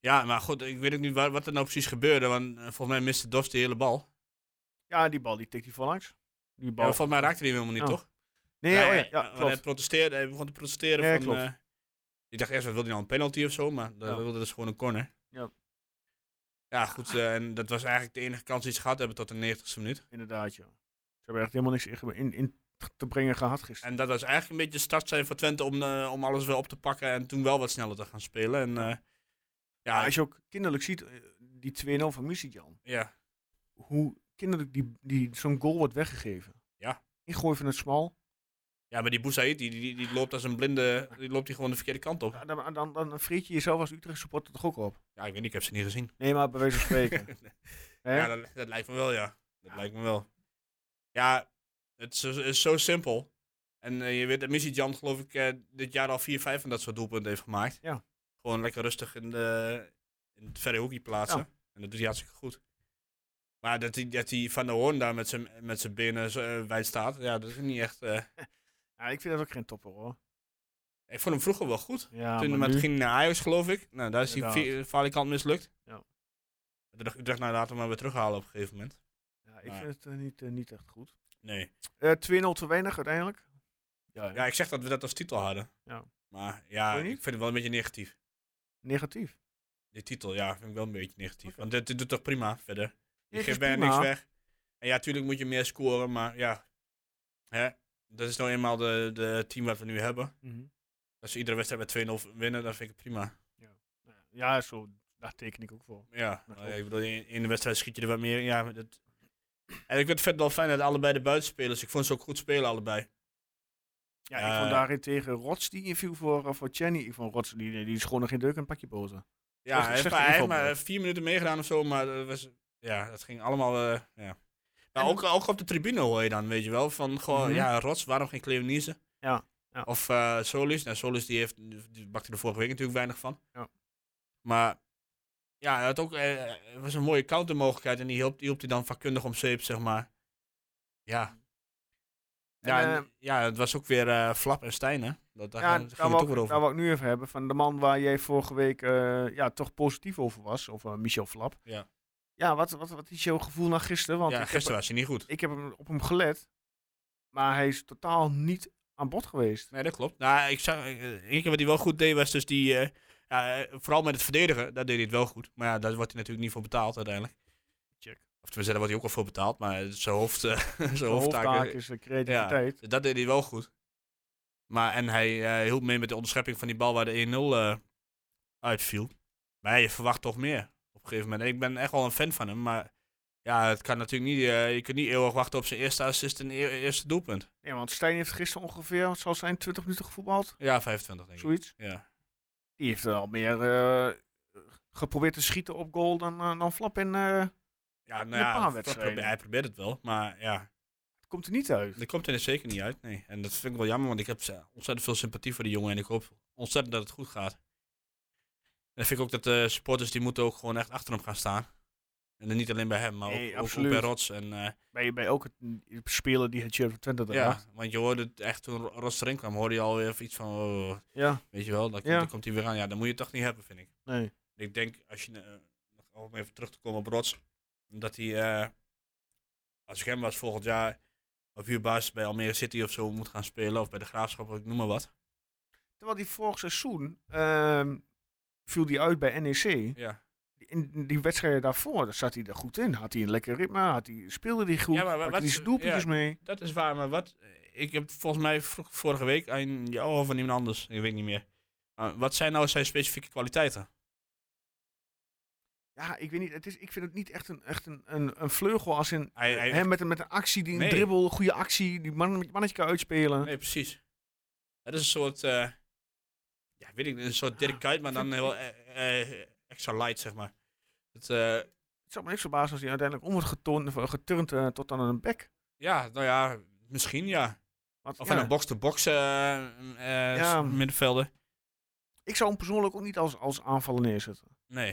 S4: Ja, maar goed, ik weet ook niet wa- wat er nou precies gebeurde. Want eh, volgens mij miste Dost de hele bal.
S1: Ja, die bal die tikt hij voorlangs. Die
S4: Ja,
S1: bal.
S4: maar volgens mij raakte hij hem helemaal niet,
S1: Ja.
S4: toch?
S1: nee,
S4: Ja,
S1: oh
S4: ja,
S1: ja, ja,
S4: want
S1: klopt.
S4: Hij, protesteerde, hij begon te protesteren.
S1: Ja,
S4: van,
S1: klopt.
S4: eh, ik dacht eerst, wat wilde hij nou, een penalty of zo? Maar dat
S1: Ja.
S4: wilde dus gewoon een corner.
S1: Ja.
S4: Ja, goed. eh, en dat was eigenlijk de enige kans die ze gehad hebben tot de 90ste minuut.
S1: Inderdaad, ja. Ze hebben echt helemaal niks in, in, in te brengen gehad gisteren.
S4: En dat was eigenlijk een beetje de start zijn voor Twente om, eh, om alles weer op te pakken. En toen wel wat sneller te gaan spelen. En, eh, ja,
S1: Maar als je ook kinderlijk ziet, eh, die 2-0 van Musijan,
S4: ja,
S1: hoe kinderlijk die, die, zo'n goal wordt weggegeven.
S4: Ja.
S1: Ingooi van het smal.
S4: ja, maar die Boussaïd, die, die, die loopt als een blinde, die loopt die gewoon de verkeerde kant op.
S1: Ja, Dan, dan, dan vreet je jezelf als Utrecht supporter toch ook op.
S4: Ja, ik weet niet, ik heb ze niet gezien.
S1: Nee, maar bij wijze van (laughs) spreken. Hè?
S4: Ja, dat, dat lijkt me wel, ja. Dat lijkt me wel. Ja, het is, is zo simpel. En eh, je weet dat Missy Jan, geloof ik, eh, dit jaar al 4-5 van dat soort doelpunten heeft gemaakt.
S1: Ja.
S4: Gewoon lekker rustig in, de, in het verre hoekje plaatsen.
S1: Ja.
S4: En dat doet hij hartstikke goed. Maar dat hij, dat hij Van der Hoorn daar met zijn, met zijn benen zo, eh, wijd staat, ja, dat is niet echt... eh,
S1: Ja, ik vind dat ook geen topper hoor.
S4: ik vond hem vroeger wel goed.
S1: Ja,
S4: Toen
S1: maar
S4: maar het
S1: nu-
S4: ging naar Ajax, geloof ik. Nou, daar is hij
S1: Inderdaad.
S4: vi- valikant mislukt.
S1: Ja.
S4: Toen dacht ik, dacht, nou, laten we hem maar weer terughalen op een gegeven moment.
S1: ja, ik vind het eh, niet, eh, niet echt goed.
S4: Nee.
S1: Eh 2-0 te weinig uiteindelijk. Ja,
S4: Ja, ik zeg dat we dat als titel hadden.
S1: Ja.
S4: Maar ja,
S1: Vond
S4: ik
S1: je niet?
S4: vind het wel een beetje negatief.
S1: Negatief.
S4: Die titel, ja, vind ik wel een beetje negatief.
S1: Oké.
S4: Want dit, dit doet toch prima verder. Je
S1: Dit is
S4: geeft bijna
S1: prima.
S4: niks weg. En ja, tuurlijk moet je meer scoren, maar ja. Hè? Dat is nou eenmaal de, de team wat we nu hebben.
S1: Mhm.
S4: Als we iedere wedstrijd met 2-0 winnen, dan vind ik het prima.
S1: Ja, zo, daar teken ik ook voor.
S4: Ja,
S1: Dat
S4: nou
S1: klopt.
S4: ja, ik bedoel, in, in de wedstrijd schiet je er wat meer in. Ja, maar dat... En ik vind het verder wel fijn dat allebei de buitenspelers, ik vond ze ook goed spelen allebei.
S1: Ja,
S4: Eh,
S1: ik vond daarin tegen Rots die inviel voor, eh, voor Chenny. Ik vond Rots, die, die is gewoon nog geen deuk en een pakje boter.
S4: Ja,
S1: Echt
S4: hij
S1: een
S4: heeft,
S1: slechte
S4: maar, hij heeft
S1: invalbeurt.
S4: maar vier minuten meegedaan of zo, maar dat was, ja, dat ging allemaal. eh, ja.
S1: En-
S4: Maar ook, ook op de tribune hoor je dan, weet je wel, van gewoon,
S1: Mhm.
S4: ja, Rots, waarom geen Cleonise?
S1: Ja, ja.
S4: Of eh, Solis. Nou, Solis die heeft, die bakte er vorige week natuurlijk weinig van.
S1: Ja.
S4: Maar ja, hij had ook, eh, het was een mooie countermogelijkheid en die hielp, die hielp hij dan vakkundig om zeep, zeg maar. Ja. Ja,
S1: En, eh,
S4: en- ja, het was ook weer eh, Flap en Stijn, hè? Dat, daar
S1: Ja,
S4: ging het
S1: daar
S4: ook
S1: wou,
S4: weer
S1: ik-
S4: over.
S1: daar wou ik nu even hebben. Van de man waar jij vorige week eh, ja, toch positief over was. Of eh, Michel Flap.
S4: Ja.
S1: Ja, wat, wat, wat is jouw gevoel na gisteren? Want
S4: ja,
S1: ik,
S4: gisteren
S1: Heb,
S4: was hij niet goed.
S1: ik heb hem op hem gelet. Maar hij is totaal niet aan bod geweest.
S4: Nee, dat klopt. Nou, ik zag, eh, één keer wat hij wel goed deed was dus die, eh, ja, eh, vooral met het verdedigen, daar deed hij het wel goed. Maar ja, daar wordt hij natuurlijk niet voor betaald uiteindelijk.
S1: Check.
S4: Of tenminste, daar wordt hij ook wel voor betaald, maar zijn hoofd, eh, (laughs) zijn
S1: De hoofdtaak
S4: hoofdtaak,
S1: is de creativiteit.
S4: eh, dat deed hij wel goed. Maar, en hij eh hielp mee met de onderschepping van die bal waar de 1-0 eh, uitviel. Maar je verwacht toch meer op een gegeven moment. En ik ben echt wel een fan van hem, maar ja, het kan natuurlijk niet. eh, je kunt niet eeuwig wachten op zijn eerste assist en e- eerste doelpunt.
S1: Ja, want Stijn heeft gisteren ongeveer, wat zal het zijn, 20 minuten gevoetbald.
S4: Ja, 25 denk ik.
S1: Zoiets.
S4: Ja.
S1: Die heeft al meer eh, geprobeerd te schieten op goal dan, eh, dan Flap. En eh,
S4: Ja, nou
S1: Een paar
S4: ja, dat
S1: wedstrijden.
S4: probeert- hij probeert het wel, maar ja,
S1: het komt er niet uit.
S4: dat komt er zeker niet uit. Nee. En dat vind ik wel jammer, want ik heb eh, ontzettend veel sympathie voor die jongen en ik hoop ontzettend dat het goed gaat. En ik vind ik ook dat de supporters die moeten ook gewoon echt achter hem gaan staan. En dan niet alleen bij hem, maar ook,
S1: Nee,
S4: ook- ook
S1: absoluut.
S4: bij Rots. En, eh,
S1: Ben je, ben je ook het speler die het shirt van Twente
S4: ja,
S1: draagt?
S4: want je hoorde het echt toen Rots erin kwam, hoorde je alweer even iets van, oh,
S1: Ja.
S4: weet je wel, dan
S1: Ja.
S4: dan komt hij weer aan. Ja, dan moet je het toch niet hebben, vind ik.
S1: Nee.
S4: Ik denk, als je, eh, nog- om even terug te komen op Rots, dat hij, eh, als ik hem was volgend jaar, op huurbasis bij Almere City of zo moet gaan spelen, of bij de Graafschap, of ik noem maar wat.
S1: Terwijl die vorig seizoen ehm, viel die uit bij E NEC.
S4: Ja,
S1: In die wedstrijden daarvoor daar zat hij er goed in. Had hij een lekker ritme, had hij, speelde hij goed,
S4: Ja, maar wa-
S1: pakte
S4: wat
S1: hij
S4: is-
S1: zijn doelpuntjes
S4: ja.
S1: mee.
S4: dat is waar, maar wat, ik heb volgens mij vro- vorige week aan jou of aan iemand anders, ik weet niet meer. Maar wat zijn nou zijn specifieke kwaliteiten?
S1: Ja, ik weet niet. Het is, ik vind het niet echt een, echt een, een, een vleugel als in
S4: Hij- hij-
S1: hè, met, een, met een actie, die, een
S4: Nee.
S1: dribbel, goede actie, die man, mannetje kan uitspelen.
S4: Nee, precies. Het is een soort, eh, ja, weet ik niet, een soort
S1: Ah,
S4: Dirk Kuyt, maar dan heel eh, eh, extra light, zeg maar. Het, eh,
S1: Het zou me niks verbazen als hij uiteindelijk om wordt geturnd, of, eh, geturnd eh, tot aan een bek.
S4: ja, nou ja, misschien ja.
S1: Want,
S4: Of
S1: ja,
S4: aan een box-to-box eh, eh,
S1: Ja.
S4: s- middenvelder.
S1: ik zou hem persoonlijk ook niet als, als aanvaller neerzetten. Hij
S4: Nee.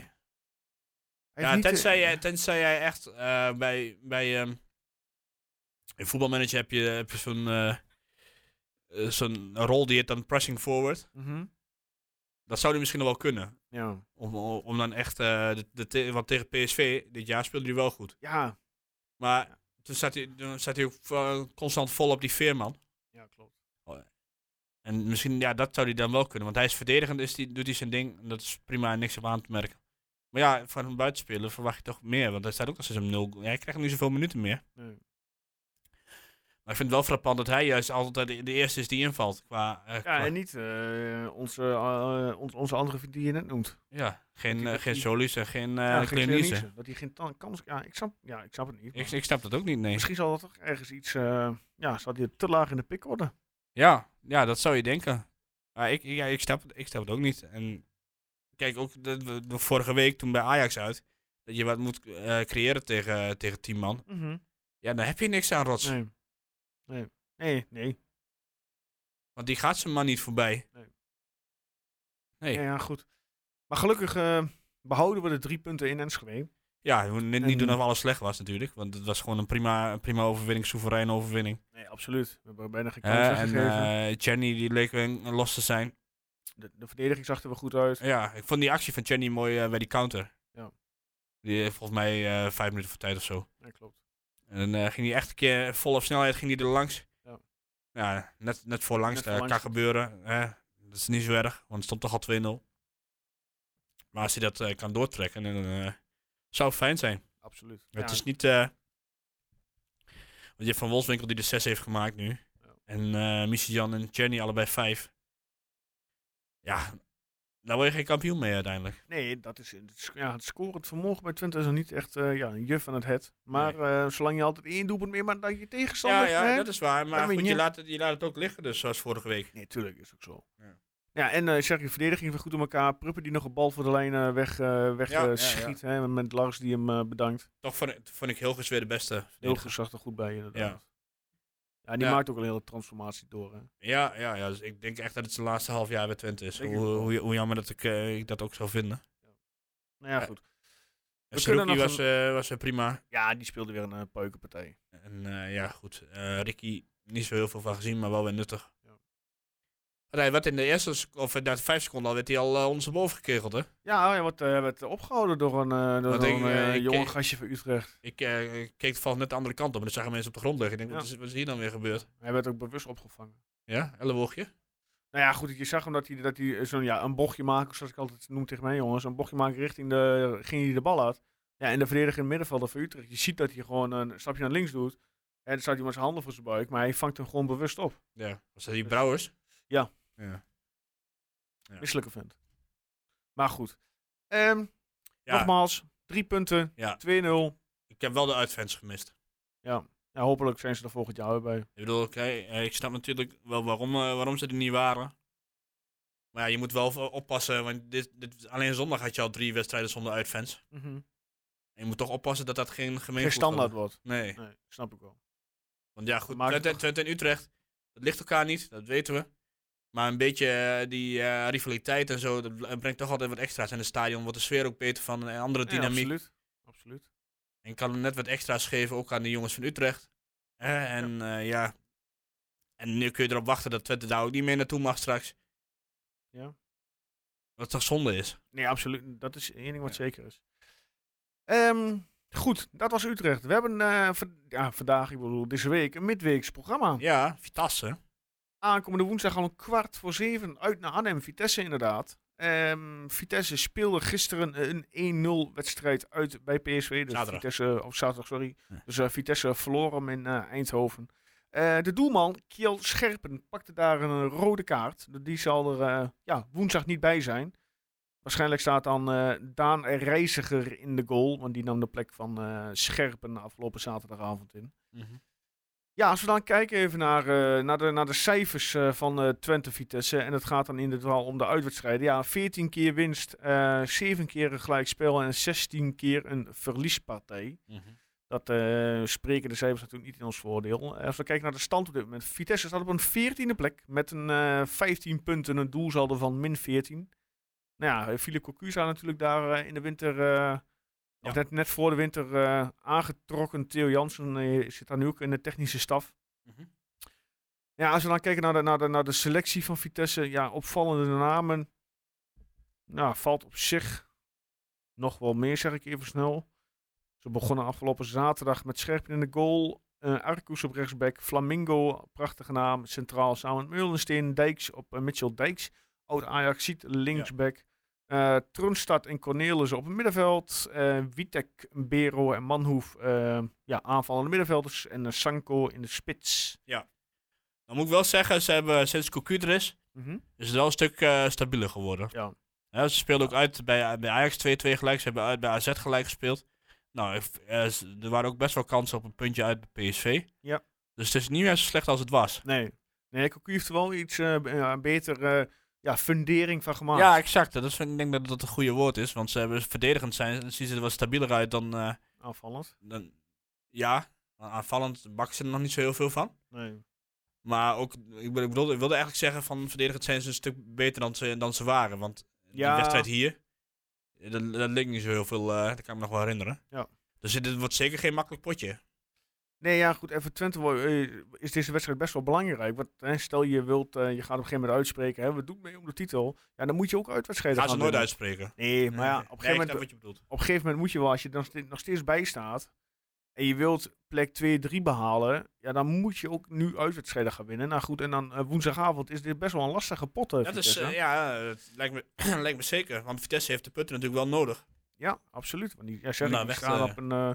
S1: heeft
S4: Ja,
S1: niet, eh,
S4: tenzij, jij, tenzij jij echt eh, bij... bij ehm, in voetbalmanager heb je, heb je zo'n... eh, eh, zo'n rol die heet dan pressing forward.
S1: mhm,
S4: Dat zou die misschien nog wel kunnen.
S1: ja.
S4: Om, om dan echt... eh, de, de te- want tegen PSV dit jaar speelde hij wel goed.
S1: ja,
S4: Maar toen zat hij, toen zat hij ook eh, constant vol op die veerman.
S1: ja, klopt.
S4: En misschien, ja, dat zou hij dan wel kunnen. Want hij is verdedigend, is die, doet hij zijn ding. En dat is prima, niks op aan te merken. Maar ja, van een buitenspeler verwacht je toch meer. Want hij staat ook als een nul. Ja, hij krijgt niet zoveel minuten meer.
S1: Nee.
S4: Maar ik vind het wel frappant dat hij juist altijd de, de eerste is die invalt. Qua, eh, qua-
S1: Ja, en niet eh, onze, eh, ons- onze andere vriend die je net noemt.
S4: ja, geen,
S1: dat
S4: eh,
S1: hij-
S4: geen Solis en geen, eh
S1: ja, geen
S4: Kleonissen.
S1: Klinissen, Dat hij geen tan- kans... Ja, ik snap, ja, ik snap het niet.
S4: Ik,
S1: maar
S4: ik snap dat ook niet, nee.
S1: Misschien zal dat toch ergens iets... eh, ja, zal hij te laag in de pik worden.
S4: Ja, ja dat zou je denken. Maar ik, ja, ik, snap, het- ik snap het ook niet. En kijk, ook de, de- de vorige week toen bij Ajax uit. Dat je wat moet eh, creëren tegen, tegen 10 man. Ja, dan heb je niks aan rots.
S1: Nee. Nee. Nee, nee.
S4: Want die gaat zijn man niet voorbij.
S1: Nee.
S4: Nee.
S1: Ja, ja, goed. Maar gelukkig eh, behouden we de drie punten in Enschede.
S4: Ja, we moeten niet,
S1: En-
S4: niet doen of alles slecht was natuurlijk. Want het was gewoon een prima, een prima overwinning, soevereine overwinning.
S1: Nee, absoluut. We hebben bijna geen kans
S4: Eh, en
S1: gegeven.
S4: eh Jenny die leek weer een- los te zijn.
S1: de, de verdediging zag er wel goed uit.
S4: Ja, ik vond die actie van Jenny mooi eh, bij die counter.
S1: Ja.
S4: Die heeft volgens mij eh, vijf minuten voor tijd of zo.
S1: Ja, klopt.
S4: En dan eh, ging hij echt een keer vol op snelheid ging hij er langs.
S1: Ja.
S4: Ja, net, net voor langs.
S1: Net
S4: eh,
S1: voor langs.
S4: kan gebeuren. Hè? Dat is niet zo erg, want het stond toch al 2-0. Maar als hij dat eh, kan doortrekken, dan eh, zou het fijn zijn.
S1: Absoluut.
S4: Het
S1: Ja,
S4: is niet... eh, want je hebt Van Wolfswinkel die de 6 heeft gemaakt nu. En eh Jan en Jenny allebei 5. Ja, daar word je geen kampioen mee uiteindelijk.
S1: Nee, dat is, het is- ja, het scorend vermogen bij Twente is nog niet echt eh, ja, een juf van het het. Maar eh, zolang je altijd één doelpunt meer maakt dan je tegenstander...
S4: ja,
S1: hè?
S4: ja, dat is waar. Maar
S1: Dan win
S4: goed, je
S1: je.
S4: laat, het, je laat het ook liggen dus, zoals vorige week.
S1: Nee, tuurlijk is ook zo. Ja,
S4: Ja.
S1: en eh zeg je, verdediging weer goed op elkaar. Pruppen die nog een bal voor de lijn eh, weg, eh, weg
S4: Ja,
S1: eh,
S4: ja, ja.
S1: schiet. Hè, met Lars die hem eh, bedankt.
S4: Toch vond, ik- vond ik Hilgers weer de beste.
S1: Heel
S4: verdediger.
S1: goed zag er goed bij, inderdaad. Ja, die
S4: Ja.
S1: maakt ook een hele transformatie door. Hè.
S4: Ja, ja, ja dus ik denk echt dat het zijn laatste half jaar bij Twente is.
S1: Denk
S4: Hoe,
S1: ik ook wel.
S4: hoe, hoe jammer dat ik, eh, ik dat ook zou vinden.
S1: Nou ja,
S4: Ja.
S1: goed.
S4: En
S1: kunnen
S4: Saruki
S1: nog
S4: was, eh, was eh, prima.
S1: Ja, die speelde weer een eh, peukenpartij.
S4: En eh, ja, goed. eh, Ricky, niet zo heel veel van gezien, maar wel weer nuttig.
S1: Ja.
S4: Want Hij werd in de eerste, sec- of eh, na de vijf seconden al, werd hij al eh, ondersteboven gekegeld, hè?
S1: Ja, hij wordt, eh, werd opgehouden door een, eh door
S4: Want
S1: zo'n,
S4: ik, eh,
S1: eh,
S4: ik
S1: jonge
S4: keek-
S1: gastje van Utrecht.
S4: Ik eh, ik keek toevallig net de andere kant op en dan zag ik mensen op de grond liggen. Ik denk,
S1: Ja.
S4: wat, is, wat is hier dan weer gebeurd?
S1: Hij werd ook bewust opgevangen.
S4: Ja, elleboogje.
S1: Nou ja, goed, je zag hem dat hij, dat hij eh, zo'n ja, een bochtje maakte, zoals ik altijd noem tegen mij jongens. Een bochtje maken richting de, ging hij de bal uit. Ja, en de verdediger in het middenveld van Utrecht. Je ziet dat hij gewoon een stapje naar links doet. En dan staat hij met zijn handen voor zijn buik, maar hij vangt hem gewoon bewust op.
S4: Ja, was dat die
S1: Dus-
S4: Brouwers?
S1: Ja.
S4: ja. Ja.
S1: Misselijke vent. Maar goed. Ehm,
S4: Ja,
S1: Nogmaals, drie punten,
S4: Ja.
S1: 2-0.
S4: ik heb wel de uitfans gemist.
S1: Ja, hopelijk zijn ze er volgend jaar weer bij.
S4: Ik bedoel, oké, eh, ik snap natuurlijk wel waarom, eh, waarom ze er niet waren. Maar ja, je moet wel voor- oppassen, want dit, dit, alleen zondag had je al drie wedstrijden zonder uitfans. En je moet toch oppassen dat dat geen
S1: Geen
S4: gemeenschap
S1: standaard wordt.
S4: Nee.
S1: Nee, snap ik wel.
S4: Want ja, goed,
S1: Maakt het
S4: Twente,
S1: toch-
S4: Twente en Utrecht, dat ligt elkaar niet, dat weten we. Maar een beetje eh, die eh, rivaliteit en zo, dat bl- eh, brengt toch altijd wat extra's. En het stadion wordt de sfeer ook beter van, en andere
S1: Ja,
S4: dynamiek.
S1: absoluut. absoluut.
S4: en kan er net wat extra's geven, ook aan de jongens van Utrecht. Eh, en eh, ja, en nu kun je erop wachten dat Twente daar ook niet meer naartoe mag straks.
S1: Ja.
S4: Wat toch zonde is.
S1: Nee, absoluut. Dat is één ding wat
S4: Ja.
S1: zeker is. Ehm, goed, dat was Utrecht. We hebben eh, v- ja, vandaag, ik bedoel deze week, een midweeks programma.
S4: Ja, Vitasse.
S1: Aankomende woensdag al om kwart voor zeven uit naar Arnhem, Vitesse inderdaad. Ehm, Vitesse speelde gisteren een 1-0 wedstrijd uit bij PSV. Dus
S4: Zaterdag.
S1: Vitesse, of zaterdag, sorry.
S4: Ja.
S1: Dus eh, Vitesse verloor hem in eh, Eindhoven. Eh, de doelman, Kiel Scherpen, pakte daar een rode kaart. Die zal er eh, ja, woensdag niet bij zijn. Waarschijnlijk staat dan eh, Daan Reiziger in de goal. Want die nam de plek van eh, Scherpen afgelopen zaterdagavond in. Ja, als we dan kijken even naar, eh, naar, de, naar de cijfers eh, van eh, Twente Vitesse. En het gaat dan in dit geval om de uitwedstrijden. Ja, 14 keer winst, eh 7 keer een gelijkspel en 16 keer een verliespartij. Dat eh, spreken de cijfers natuurlijk niet in ons voordeel. Eh, als we kijken naar de stand op dit moment. Vitesse staat op een 14e plek met een eh 15 punten, een doelsaldo van min 14. Nou ja, eh, Philip Cocu natuurlijk daar eh, in de winter, eh, of
S4: Ja.
S1: net, net voor de winter, eh, aangetrokken. Theo Jansen eh, zit daar nu ook in de technische staf. Ja, als we dan kijken naar de, naar de, naar de selectie van Vitesse, ja, opvallende namen. Nou, valt op zich nog wel meer, zeg ik even snel. Ze begonnen afgelopen zaterdag met Scherpen in de goal. eh Arcus op rechtsback, Flamingo, prachtige naam, centraal samen met Meulensteen, Dijks op eh, Mitchell Dijks. Oud Ajax ziet linksback. Eh, Tronstad en Cornelissen op het middenveld. eh Witek, Bero en Manhoef eh, ja, aanvallende middenvelders. En eh, Sanko in de spits.
S4: Dan moet ik wel zeggen, ze hebben sinds Cocu er is,
S1: Mhm.
S4: is het wel een stuk eh, stabieler geworden.
S1: Ja.
S4: Hè, ze speelden ook uit bij, bij Ajax 2-2 gelijk. Ze hebben uit bij AZ gelijk gespeeld. Nou, ik- eh, ze- er waren ook best wel kansen op een puntje uit bij PSV.
S1: Ja.
S4: Dus het is niet meer zo slecht als het was.
S1: Nee. Nee, Cocu heeft er wel iets eh, b- ja, beter eh, ja, fundering van gemaakt.
S4: Ja, exact. Dat is, ik denk dat dat een goede woord is. Want ze hebben verdedigend zijn. Dan zien ze er wat stabieler uit dan... eh,
S1: Aanvallend.
S4: dan ja, aanvallend bakken ze er nog niet zo heel veel van.
S1: Nee.
S4: Maar ook, ik, be- ik bedoel, ik wilde eigenlijk zeggen van verdedigend zijn ze een stuk beter dan ze, dan ze waren. Want die
S1: Ja.
S4: wedstrijd hier, eh, dat, dat leek niet zo heel veel, eh, dat kan ik me nog wel herinneren.
S1: Ja.
S4: Dus dit wordt zeker geen makkelijk potje.
S1: Nee, ja, goed. Even Twente wo- eh, is deze wedstrijd best wel belangrijk. Want hè, stel je wilt, eh, je gaat op een gegeven moment uitspreken, hè, we doen mee om de titel. Ja, dan moet je ook uitwedstrijden
S4: Gaan ze nooit
S1: winnen.
S4: uitspreken.
S1: Nee, maar ja, op
S4: Nee,
S1: een,
S4: ik snap
S1: gegeven moment,
S4: wat je bedoelt.
S1: op een gegeven moment moet je wel, als je er nog steeds- nog steeds bij staat en je wilt plek 2-3 behalen, ja, dan moet je ook nu uitwedstrijden gaan winnen. Nou goed, en dan eh, woensdagavond is dit best wel een lastige pot. eh,
S4: Dat is,
S1: Vitesse.
S4: eh, ja, het lijkt me, (clears throat) lijkt me zeker. Want Vitesse heeft de punten natuurlijk wel nodig.
S1: Ja, absoluut. Want die, ja, zeg,
S4: Nou,
S1: ik, die
S4: weg,
S1: staan
S4: eh.
S1: op een, eh,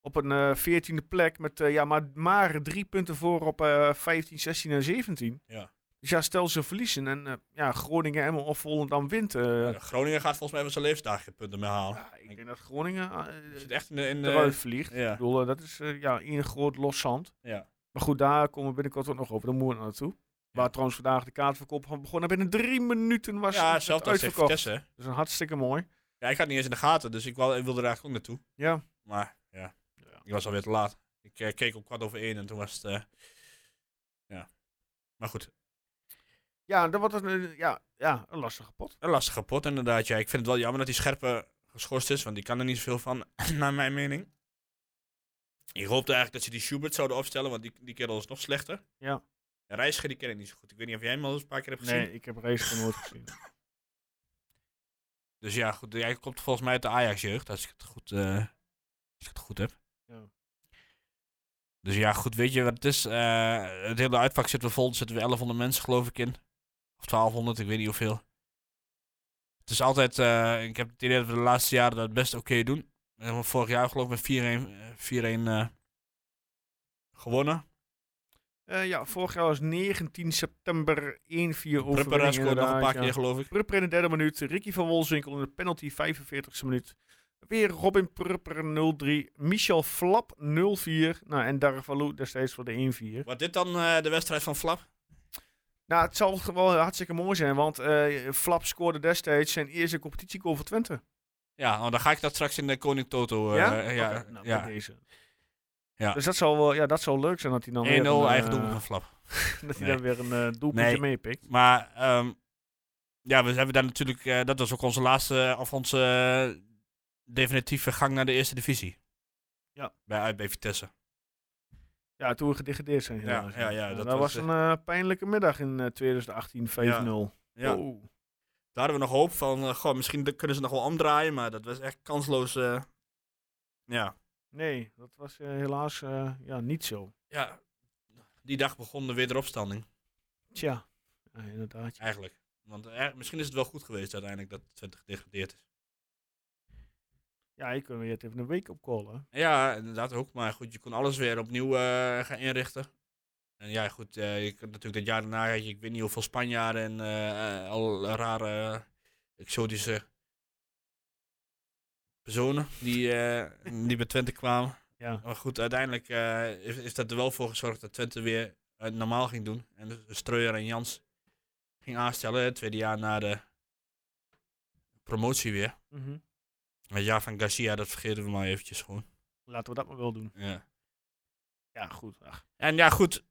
S1: op een eh, veertiende plek met eh, ja, maar, maar drie punten voor op eh 15, 16 en 17.
S4: Ja.
S1: Dus ja, stel ze verliezen en eh, ja, Groningen, Emmen of Volendam wint. eh,
S4: Groningen gaat volgens mij van zijn levensdag geen punten meer halen.
S1: ja, ik denk dat Groningen eh,
S4: Is het echt in de... In de
S1: eruit vliegt.
S4: ja.
S1: Ik bedoel, eh, dat is eh, ja, één groot los zand.
S4: Ja.
S1: Maar goed, daar komen we binnenkort ook nog over. Daar moeten we naartoe. Waar trouwens vandaag de kaartverkoop van begonnen. Binnen drie minuten was
S4: ja,
S1: het
S4: zelfs als tegen
S1: uitverkocht.
S4: Vitesse. hè.
S1: Dat is een hartstikke mooi.
S4: Ja, ik had niet eens in de gaten, dus ik, wou, ik wilde er eigenlijk ook naartoe.
S1: Ja.
S4: Maar ja,
S1: Ja.
S4: ik was alweer te laat. Ik eh, keek om kwart over één en toen was het... eh, ja. Maar goed,
S1: Ja, dat was een, eh, ja, ja, een lastige pot.
S4: een lastige pot inderdaad. Ja, ik vind het wel jammer dat die scherpe geschorst is, want die kan er niet zoveel van, (laughs) naar mijn mening. Ik hoopte eigenlijk dat ze die Schubert zouden opstellen, want die, die kerel is nog slechter.
S1: Ja.
S4: En Reiziger, die ken ik niet zo goed. Ik weet niet of jij hem al eens een paar keer hebt gezien.
S1: Nee, ik heb race nooit
S4: (laughs)
S1: gezien.
S4: Dus ja, goed, hij komt volgens mij uit de Ajax-jeugd, als ik het goed, eh, als ik het goed heb.
S1: Ja.
S4: Dus ja, goed, weet je wat het is? Eh, het hele uitvak zitten we vol, er zitten we 1100 mensen geloof ik in. Of 1200, ik weet niet hoeveel. Het is altijd, eh, ik heb het idee dat we de laatste jaren dat best oké doen. We hebben vorig jaar geloof ik met 4-1 eh, 4-1 eh, gewonnen.
S1: Eh, ja, vorig jaar was 19 september 1-4 overwinning
S4: Prepara scoort nog een
S1: inderdaad,
S4: paar
S1: ja.
S4: keer, geloof ik.
S1: Prupper in de derde minuut. Ricky van Wolzinkel in de penalty 45e minuut. Weer Robin Prupper 0-3. Michel Flap 0-4. Nou, en Darvalou destijds voor de 1-4.
S4: Wordt dit dan eh, de wedstrijd van Flap?
S1: Nou, het zal wel hartstikke mooi zijn, want eh, Flap scoorde destijds zijn eerste competitiegoal voor Twente.
S4: Ja, nou, dan ga ik dat straks in de Koning Toto. eh, eh, ja,
S1: Oké, nou,
S4: ja.
S1: met deze.
S4: Ja.
S1: Dus dat zal, wel, ja, dat zal leuk zijn dat hij dan
S4: 1-0
S1: weer een,
S4: eigen
S1: eh,
S4: doel van Flap.
S1: (laughs) dat hij
S4: Nee.
S1: dan weer een eh, doelpuntje
S4: Nee.
S1: meepikt.
S4: Maar ehm, ja, we hebben daar natuurlijk. eh, dat was ook onze laatste, of onze eh, definitieve gang naar de eerste divisie.
S1: Ja.
S4: Bij uit bij Vitesse.
S1: Ja, toen we gedegradeerd zijn. helaas.
S4: ja, ja,
S1: dat,
S4: dat
S1: was
S4: was,
S1: een eh, pijnlijke middag in eh, 2018, 5-0.
S4: Ja.
S1: Oh.
S4: Daar hadden we nog hoop van. eh, goh, misschien de- kunnen ze nog wel omdraaien, maar dat was echt kansloos. eh, ja.
S1: Nee, dat was eh, helaas eh, ja, niet zo.
S4: ja. Die dag begon de wederopstanding,
S1: Tja, ja, inderdaad. ja.
S4: eigenlijk. Want eh, misschien is het wel goed geweest uiteindelijk dat Twente gedegradeerd is.
S1: Ja, je kunt weer het even een week opcallen.
S4: Ja, inderdaad ook. Maar goed, je kon alles weer opnieuw eh, gaan inrichten. En ja, goed, eh, je kunt natuurlijk dat jaar daarna had je, ik weet niet hoeveel Spanjaarden en eh, eh, al rare eh, exotische personen die, eh, die bij Twente kwamen.
S1: Ja.
S4: Maar goed, uiteindelijk eh, is, is dat er wel voor gezorgd dat Twente weer eh, normaal ging doen. En dus Streuer en Jans ging aanstellen, het tweede jaar na de promotie weer.
S1: Mhm.
S4: Het jaar van Garcia, dat vergeten we maar eventjes gewoon.
S1: Laten we dat maar wel doen.
S4: Ja.
S1: Ja, goed. Ach.
S4: En ja, goed.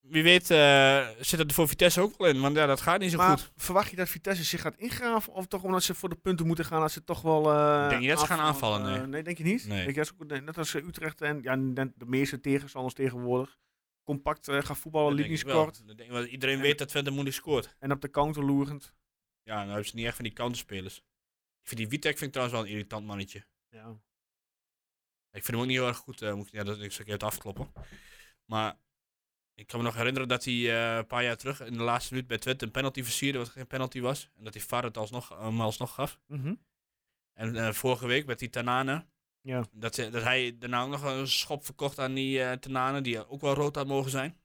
S4: Wie weet eh, zit het er voor Vitesse ook wel in. Want ja, dat gaat niet zo
S1: Maar
S4: goed.
S1: verwacht je dat Vitesse zich gaat ingraven? Of toch omdat ze voor de punten moeten gaan? Dat ze toch wel. eh,
S4: Denk je dat ze gaan
S1: aanvallen?
S4: aanvallen? Nee.
S1: Eh, nee, denk je niet?
S4: Nee.
S1: Denk je dat ze ook, nee, net als eh, Utrecht en ja, net de meeste tegenstanders tegenwoordig. Compact eh, gaan voetballen,
S4: Dat denk
S1: linies
S4: ik wel.
S1: kort.
S4: Dat denk ik wel. Iedereen weet dat Twente moeilijk scoort.
S1: En op de counter loerend.
S4: Ja, nou hebben ze niet echt van die counterspelers. Ik vind die Witek vind ik trouwens wel een irritant mannetje.
S1: Ja.
S4: Ik vind hem ook niet heel erg goed. eh, moet ik, ja, dat ik zou het afkloppen. Maar ik kan me nog herinneren dat hij eh, een paar jaar terug in de laatste minuut bij Twente een penalty versierde. Wat geen penalty was. En dat hij VAR het alsnog, hem alsnog gaf.
S1: Mhm.
S4: En eh, vorige week met die Tanane.
S1: Ja.
S4: Dat, ze- dat hij daarna ook nog een schop verkocht aan die eh Tanane. Die ook wel rood had mogen zijn.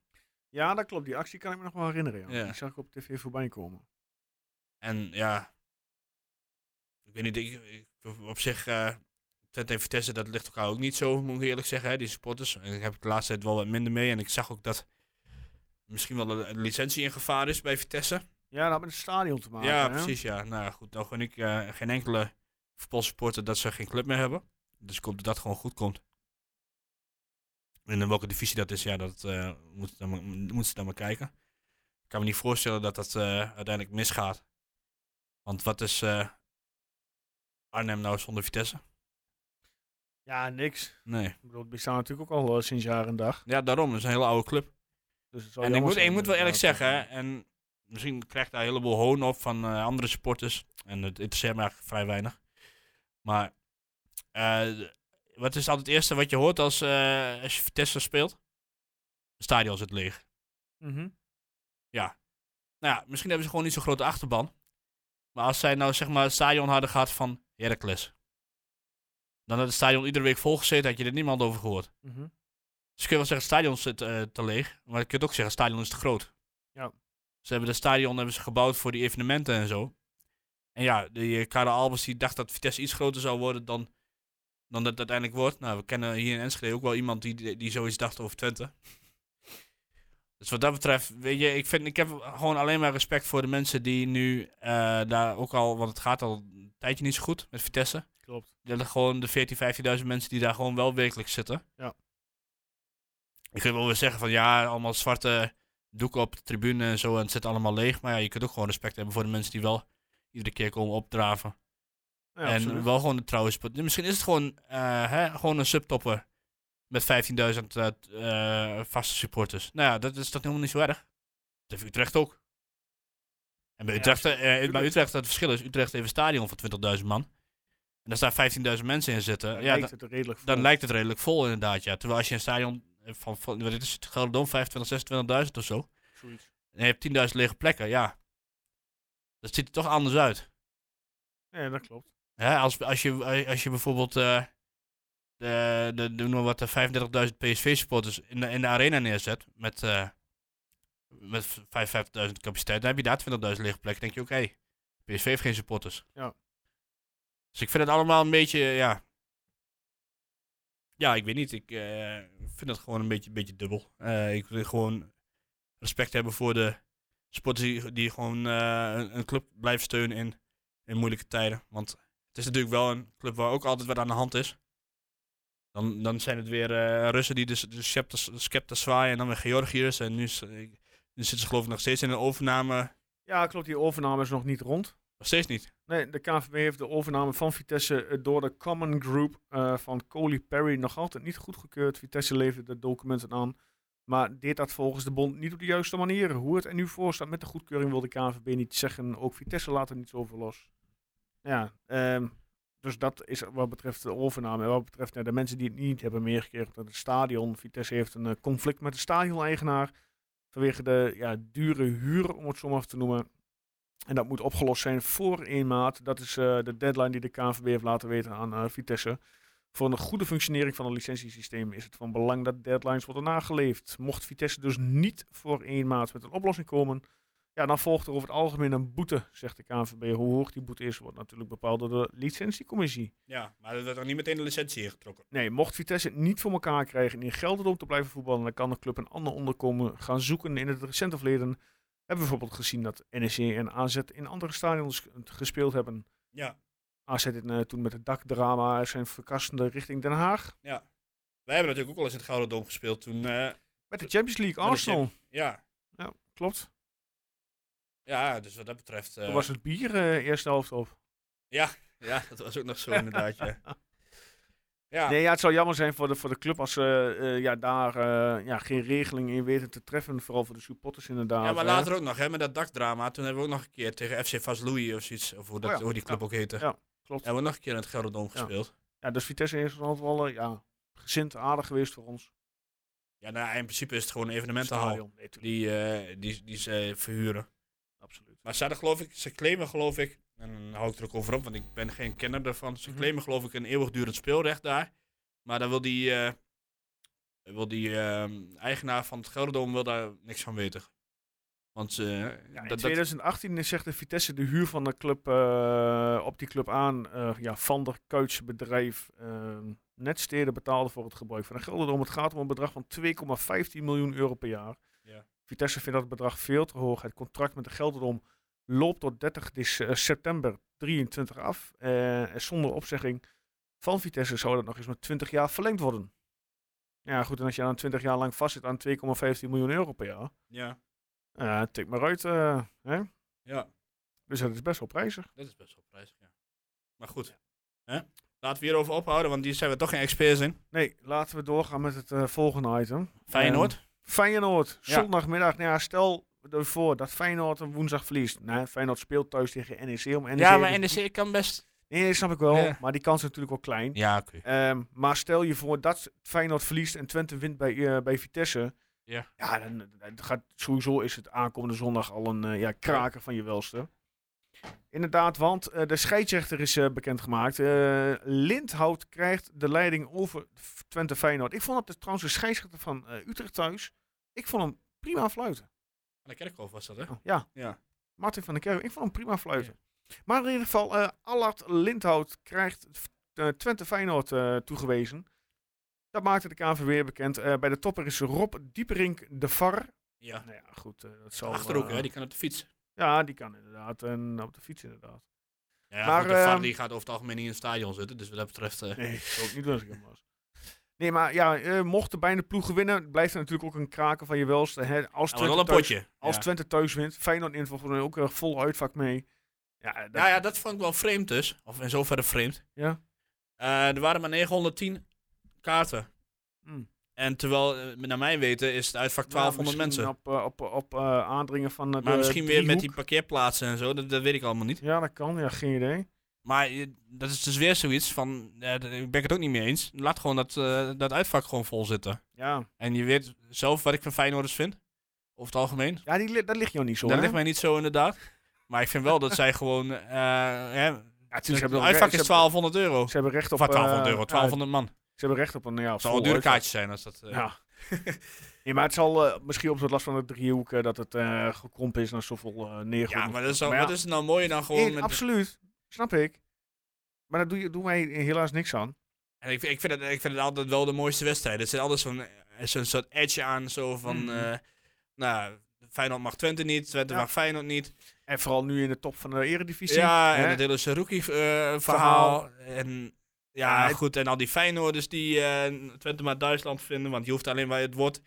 S1: ja, dat klopt. Die actie kan ik me nog wel herinneren. Ja.
S4: Ja.
S1: Die zag ik op tv voorbij komen.
S4: En ja, ik weet niet, ik, ik- op zich, eh Twente en Vitesse, dat ligt elkaar ook niet zo, moet ik eerlijk zeggen, hè, die supporters. En Ik heb het de laatste tijd wel wat minder mee en ik zag ook dat misschien wel een, een licentie in gevaar is bij Vitesse.
S1: Ja, dat had met het stadion te maken.
S4: ja,
S1: hè?
S4: precies, ja. Nou ja, goed, nou gun ik eh, geen enkele voetbalsupporter dat ze geen club meer hebben. Dus ik hoop dat dat gewoon goed komt. En in welke divisie dat is, ja, dat eh moeten dan maar- moeten ze dan maar kijken. Ik kan me niet voorstellen dat dat eh, uiteindelijk misgaat. Want wat is eh, Arnhem nou zonder Vitesse?
S1: Ja, niks.
S4: Nee.
S1: Ik bedoel, die bestaan natuurlijk ook al eh, sinds jaar en dag.
S4: Ja, daarom. Het is een hele oude club.
S1: Dus het zal
S4: En ik
S1: jammer
S4: moet,
S1: zijn,
S4: ik moet wel eerlijk
S1: inderdaad.
S4: zeggen, hè, en misschien krijgt daar een heleboel hoon op van eh, andere supporters. En het interesseert me eigenlijk vrij weinig. Maar eh, wat is altijd het eerste wat je hoort als, eh, als je Vitesse speelt? Het stadion zit leeg.
S1: Mhm.
S4: Nou ja, misschien hebben ze gewoon niet zo'n grote achterban. Maar als zij nou zeg maar het stadion hadden gehad van Heracles. Dan had het stadion iedere week volgezeten, had je er niemand over gehoord.
S1: mhm.
S4: Dus kun je wel zeggen, het stadion zit eh, te leeg. Maar je kunt ook zeggen, het stadion is te groot.
S1: Ja.
S4: Ze hebben het stadion hebben ze gebouwd voor die evenementen en zo. En ja, die eh, Karel Albers die dacht dat Vitesse iets groter zou worden dan, dan dat het uiteindelijk wordt. Nou, we kennen hier in Enschede ook wel iemand die, die, die zoiets dacht over Twente. Dus wat dat betreft, weet je, ik, vind, ik heb gewoon alleen maar respect voor de mensen die nu eh, daar ook al, want het gaat al een tijdje niet zo goed met Vitesse.
S1: Klopt.
S4: Dat er gewoon de 14.000, 15.000 mensen die daar gewoon wel wekelijks zitten.
S1: Ja.
S4: Ik wil wel weer zeggen van ja, allemaal zwarte doeken op de tribune en zo en het zit allemaal leeg. Maar ja, je kunt ook gewoon respect hebben voor de mensen die wel iedere keer komen opdraven.
S1: Ja,
S4: en
S1: absoluut.
S4: wel gewoon de trouwe sport. Misschien is het gewoon, eh, hè, gewoon een subtopper met 15.000 eh, t- eh, vaste supporters. Nou ja, dat is toch helemaal niet zo erg. Dat heeft Utrecht ook. En bij
S1: Ja,
S4: Utrecht, eh, bij
S1: tuurlijk.
S4: Utrecht het verschil is, Utrecht heeft een stadion van 20.000 man. En daar staan 15.000 mensen in zitten.
S1: Dan
S4: eh, ja,
S1: lijkt
S4: da-
S1: het er redelijk
S4: dan
S1: vol.
S4: lijkt het redelijk vol inderdaad, ja. Terwijl als je een stadion eh, van, van wat dit is het Gelderdoom, 25, 26.000 of zo.
S1: Zoiets.
S4: En je hebt 10.000 lege plekken, ja. Dat ziet er toch anders uit.
S1: Nee, dat klopt.
S4: Hè, als, als, je, als je bijvoorbeeld eh de, de, de, noem maar wat, de 35.000 PSV-supporters in de, in de arena neerzet met eh Met v- 55.000 capaciteit, dan heb je daar 20.000 lege plekken. denk je, oké, PSV heeft geen supporters.
S1: Ja.
S4: Dus ik vind het allemaal een beetje, eh, ja... Ja, ik weet niet. Ik eh, vind het gewoon een beetje, beetje dubbel. Eh, ik wil gewoon respect hebben voor de sporters die, die gewoon eh, een, een club blijven steunen in, in moeilijke tijden. Want het is natuurlijk wel een club waar ook altijd wat aan de hand is. Dan, dan zijn het weer eh, Russen die de, s- de scepter, scepter zwaaien en dan weer Georgiërs. En nu, is- ik- nu zitten ze geloof ik nog steeds in een overname.
S1: Ja, klopt. Die overname is nog niet rond.
S4: Nog steeds niet.
S1: Nee, de KNVB heeft de overname van Vitesse eh, door de Common Group eh, van Coley Perry nog altijd niet goedgekeurd. Vitesse leverde de documenten aan, maar deed dat volgens de bond niet op de juiste manier. Hoe het er nu voor staat met de goedkeuring wil de KNVB niet zeggen. Ook Vitesse laat er niets over los. Ja, ehm, dus dat is wat betreft de overname. En wat betreft eh, de mensen die het niet hebben meegekregen dat het stadion. Vitesse heeft een eh, conflict met de stadion-eigenaar vanwege de ja, dure huur, om het zo maar te noemen. En dat moet opgelost zijn voor 1 maart. Dat is eh, de deadline die de KNVB heeft laten weten aan eh, Vitesse. Voor een goede functionering van het licentiesysteem is het van belang dat deadlines worden nageleefd. Mocht Vitesse dus niet voor 1 maart met een oplossing komen, ja, dan volgt er over het algemeen een boete, zegt de KNVB. Hoe hoog die boete is, wordt natuurlijk bepaald door de licentiecommissie.
S4: Ja, maar er werd nog niet meteen de licentie ingetrokken.
S1: Nee, mocht Vitesse het niet voor elkaar krijgen in Gelderland te blijven voetballen, dan kan de club een ander onderkomen gaan zoeken. In het recente verleden hebben we bijvoorbeeld gezien dat NEC en AZ in andere stadions gespeeld hebben.
S4: Ja.
S1: AZ in, eh, toen met het dakdrama zijn verkassende richting Den Haag.
S4: Wij hebben natuurlijk ook al eens in het Gouden Dom gespeeld toen. eh,
S1: Met de Champions League,
S4: Met de
S1: Arsenal.
S4: ja.
S1: Ja, klopt.
S4: ja, dus wat dat betreft. eh,
S1: Toen was het bier eh eerste helft op.
S4: Ja, dat was ook nog
S1: (laughs)
S4: zo inderdaad. Ja. Ja.
S1: Nee, ja, het zou jammer zijn voor de, voor de club als ze eh, ja, daar eh, ja, geen regeling in weten te treffen. Vooral voor de supporters inderdaad.
S4: ja, maar
S1: hè.
S4: later ook nog, hè, met dat dakdrama. Toen hebben we ook nog een keer tegen FC Vaslui of zoiets, of hoe, dat,
S1: Oh ja,
S4: hoe die club
S1: ja,
S4: ook heette.
S1: ja, klopt.
S4: Hebben we nog een keer in het Gelderdoom gespeeld.
S1: Ja, dus Vitesse is altijd wel eh, ja, gezind aardig geweest voor ons.
S4: Ja, nou, in principe is het gewoon een evenementenhal
S1: Stadion, nee, tuurlijk.
S4: die, eh, die, die ze verhuren.
S1: Absoluut.
S4: Maar ze hadden geloof ik, ze claimen geloof ik, en dan hou ik er ook over op, want ik ben geen kenner daarvan. Ze
S1: Mhm.
S4: claimen geloof ik een eeuwigdurend speelrecht daar. Maar dan wil die, eh, wil die ehm, eigenaar van het Gelderdoom wil daar niks van weten. Want eh,
S1: Ja, in
S4: dat, dat,
S1: 2018 zegt de Vitesse de huur van de club eh, op die club aan. eh, ja, van der Kuitse bedrijf ehm Netsteden betaalde voor het gebruik van de Gelderdom. Het gaat om een bedrag van 2,15 miljoen euro per jaar.
S4: Ja.
S1: Vitesse vindt dat bedrag veel te hoog. Het contract met de Gelderdom loopt tot 30 dec- eh, september 23 af. Eh, en zonder opzegging van Vitesse zou dat nog eens met 20 jaar verlengd worden. Ja goed, en als je dan 20 jaar lang vastzit aan 2,15 miljoen euro per jaar...
S4: ja,
S1: eh tik maar uit, eh, hè?
S4: ja,
S1: Dus dat is best wel prijzig.
S4: dat is best wel prijzig. Ja. Maar goed, Hè? laten we hierover ophouden, want hier zijn we toch geen experts in.
S1: Nee, laten we doorgaan met het eh, volgende item.
S4: Feyenoord.
S1: Ehm, Feyenoord,
S4: Ja.
S1: zondagmiddag. Nou ja, stel ervoor dat Feyenoord een woensdag verliest. Nee, Feyenoord speelt thuis tegen NEC om E NEC.
S4: ja, maar NEC kan best...
S1: Nee, nee, snap ik wel.
S4: Ja.
S1: Maar die kans is natuurlijk wel klein.
S4: Ja, oké.
S1: Ehm, maar stel je voor dat Feyenoord verliest en Twente wint bij, eh, bij Vitesse.
S4: Ja.
S1: Ja, dan, dan gaat, sowieso is het aankomende zondag al een eh, ja, kraker van je welste. Inderdaad, want eh, de scheidsrechter is eh, bekendgemaakt. Eh, Lindhout krijgt de leiding over F- Twente Feyenoord. Ik vond dat de, trouwens de scheidsrechter van eh, Utrecht thuis. Ik vond hem prima fluiten.
S4: Aan de kerkhof was dat, hè?
S1: Ja,
S4: Ja.
S1: Martin van der Kerk. Ik vond hem prima fluiten. Maar in ieder geval, eh Allard Lindhout krijgt eh, Twente Feyenoord eh, toegewezen. Dat maakte de KNVB bekend. Eh, bij de topper is Rob Dieperink de VAR.
S4: Ja.
S1: Nou ja, goed. eh, dat zal,
S4: Achterhoek,
S1: eh,
S4: hè? Die kan op de fiets.
S1: Ja, die kan inderdaad. En op de fiets
S4: (laughs)
S1: inderdaad.
S4: Ja,
S1: Maar,
S4: maar, de VAR
S1: ehm,
S4: die gaat over het algemeen niet in het stadion zitten, dus wat dat betreft... eh,
S1: Nee, ik zou ook niet doen als ik hem was. Nee, maar ja, eh mocht de beide ploegen winnen, blijft er natuurlijk ook een kraken van je welste. Hè? Als,
S4: nou,
S1: Twente
S4: wel een
S1: thuis,
S4: potje.
S1: als
S4: ja.
S1: Twente thuis wint, Feyenoord in volgens mij ook eh, vol uitvak mee. Ja, eh, dat-
S4: Nou ja, dat vond ik wel vreemd dus. Of in zoverre vreemd.
S1: Ja.
S4: Eh, er waren maar 910 kaarten.
S1: Mm.
S4: En terwijl, eh, naar mijn weten, is het uitvak
S1: Nou,
S4: 1200
S1: misschien
S4: mensen.
S1: Op, eh, op, op eh, aandringen van eh, de
S4: maar misschien weer met die
S1: driehoek.
S4: parkeerplaatsen en zo, dat, dat weet ik allemaal niet.
S1: Ja, dat kan. Ja, geen idee.
S4: Maar eh, dat is dus weer zoiets van, eh, d- ik ben het ook niet mee eens. Laat gewoon dat, eh, dat uitvak gewoon vol zitten.
S1: Ja,
S4: En je weet zelf wat ik van Feyenoorders vind. Over het algemeen.
S1: ja die, li- dat ligt jou niet zo.
S4: Dat
S1: hè?
S4: ligt mij niet zo inderdaad. Maar ik vind wel dat zij (laughs) gewoon. eh hè,
S1: Ja, tuurlijk, ze
S4: het
S1: hebben wel
S4: uitvak
S1: recht-
S4: Ah, is
S1: ze hebben-
S4: 1200 euro.
S1: Ze hebben recht op...
S4: Of 1200
S1: eh,
S4: euro,
S1: ja,
S4: 1200 man.
S1: ze hebben recht op een... Ja,
S4: Het zal een
S1: vol
S4: dure
S1: uitvak.
S4: kaartje zijn als dat. eh,
S1: Ja. (laughs) Nee, maar het zal eh, misschien op het last van de driehoek eh, dat het eh gekrompen is naar zoveel eh neergooien.
S4: Ja, maar dat is, al,
S1: Maar ja,
S4: wat is het nou mooier dan gewoon
S1: in-
S4: met...
S1: Absoluut, snap ik. Maar daar doe, je- doen wij helaas niks aan.
S4: En ik, vind- ik, vind het, ik vind het altijd wel de mooiste wedstrijd. Er zit altijd zo'n eh, zo'n soort edge aan, zo van...
S1: Mhm.
S4: eh, nou, Feyenoord mag Twente niet, Twente
S1: Ja.
S4: mag Feyenoord niet.
S1: En vooral nu in de top van de eredivisie.
S4: ja,
S1: hè?
S4: en het hele Saruki-verhaal.
S1: Verhaal.
S4: en ja,
S1: Ja,
S4: goed, en al die Feyenoorders die eh, Twente maar Duitsland vinden, want je hoeft alleen maar het woord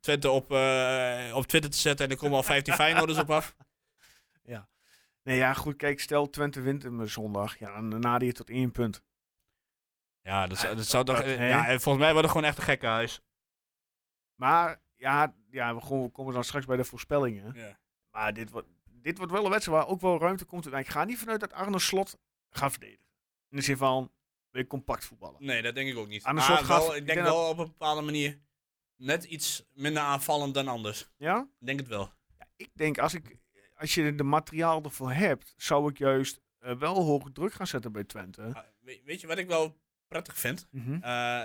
S4: Twente op, eh, op Twitter te zetten en er komen al (laughs) 15 Feyenoorders op af.
S1: Nee, ja, goed, kijk, stel Twente wint hem eh, zondag. Ja, dan nader je tot één punt.
S4: Ja, dat, zou- dat zou toch... eh,
S1: Hè?
S4: ja, en volgens mij wordt het gewoon echt een gekke huis.
S1: Maar ja, ja we, gewoon, we komen dan straks bij de voorspellingen.
S4: Ja.
S1: Maar dit wordt, dit wordt wel een wedstrijd waar ook wel ruimte komt. En ik ga niet vanuit dat Arne Slot gaat verdedigen. In de zin van, weer compact voetballen.
S4: Nee, dat denk ik ook niet.
S1: Aan de
S4: Maar
S1: slot
S4: wel,
S1: gaat-
S4: ik
S1: ik
S4: denk
S1: denk dat-
S4: wel op een bepaalde manier net iets minder aanvallend dan anders.
S1: Ja?
S4: Ik denk het wel.
S1: Ik denk, als, ik, als je de materiaal ervoor hebt, zou ik juist eh, wel hoge druk gaan zetten bij Twente.
S4: Ah, we- weet je wat ik wel prettig vind? Eh,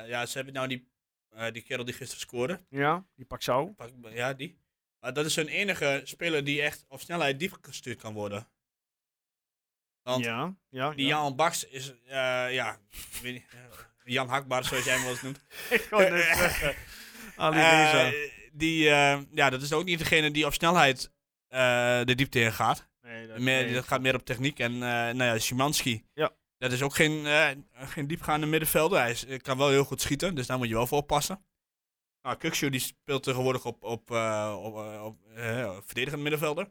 S4: ja, ze hebben nou die, eh, die kerel die gisteren scoorde.
S1: Ja, die pak zou.
S4: Pak- Ja, die. Maar dat is hun enige speler die echt op snelheid diep gestuurd kan worden. Want
S1: Ja, ja.
S4: die
S1: ja.
S4: Jan Baks is, eh, ja, ik weet niet, eh, Jan Hakbaar zoals jij hem wel eens
S1: (laughs)
S4: noemt.
S1: (laughs) Ik wou Oh, net eh,
S4: (laughs)
S1: zeggen. Ali
S4: Eh,
S1: Reza.
S4: die, eh, ja, dat is ook niet degene die op snelheid eh, de diepte in gaat.
S1: Nee, dat-
S4: Meer,
S1: nee.
S4: Dat gaat meer op techniek. En eh nou ja, Szymanski.
S1: Ja.
S4: Dat is ook geen, eh, geen diepgaande middenvelder. Hij is- eh, kan wel heel goed schieten, dus daar moet je wel voor oppassen. Nou, Kukshu die speelt tegenwoordig op, op, eh, op, eh, op eh, verdedigend middenvelder.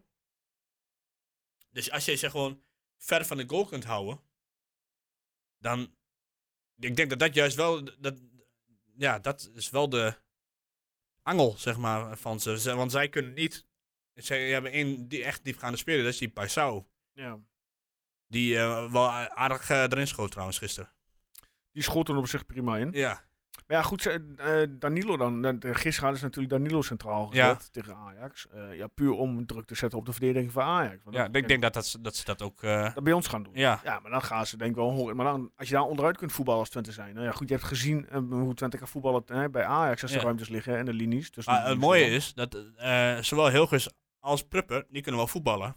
S4: Dus als je ze gewoon ver van de goal kunt houden, dan... Ik denk dat dat juist wel... Dat, ja, dat is wel de angel, zeg maar, van ze. Ze- Want zij kunnen niet zij hebben één die echt diepgaande speler, dat is die Paisao.
S1: Ja.
S4: Die eh, wel aardig eh, erin schoot trouwens gisteren.
S1: Die schoten op zich prima in.
S4: Ja.
S1: Maar ja, goed, ze- eh, Danilo dan. Eh, Gisteren hadden ze natuurlijk Danilo centraal gezet
S4: Ja.
S1: tegen Ajax. Eh, ja, puur om druk te zetten op de verdediging van Ajax. Want
S4: ja,
S1: dat-
S4: ik denk dat, dat, ze- dat ze dat ook... eh,
S1: dat bij ons gaan doen.
S4: ja.
S1: Ja, maar dan gaan ze denk ik wel horen. Maar dan, als je daar onderuit kunt voetballen als Twente zijn. Nou ja, goed, je hebt gezien eh, hoe Twente kan voetballen eh, bij Ajax als de
S4: Ja.
S1: ruimtes liggen en de linies. Dus
S4: Maar Ah, het mooie is dat eh, zowel Hilgers als Prupper, die kunnen wel voetballen.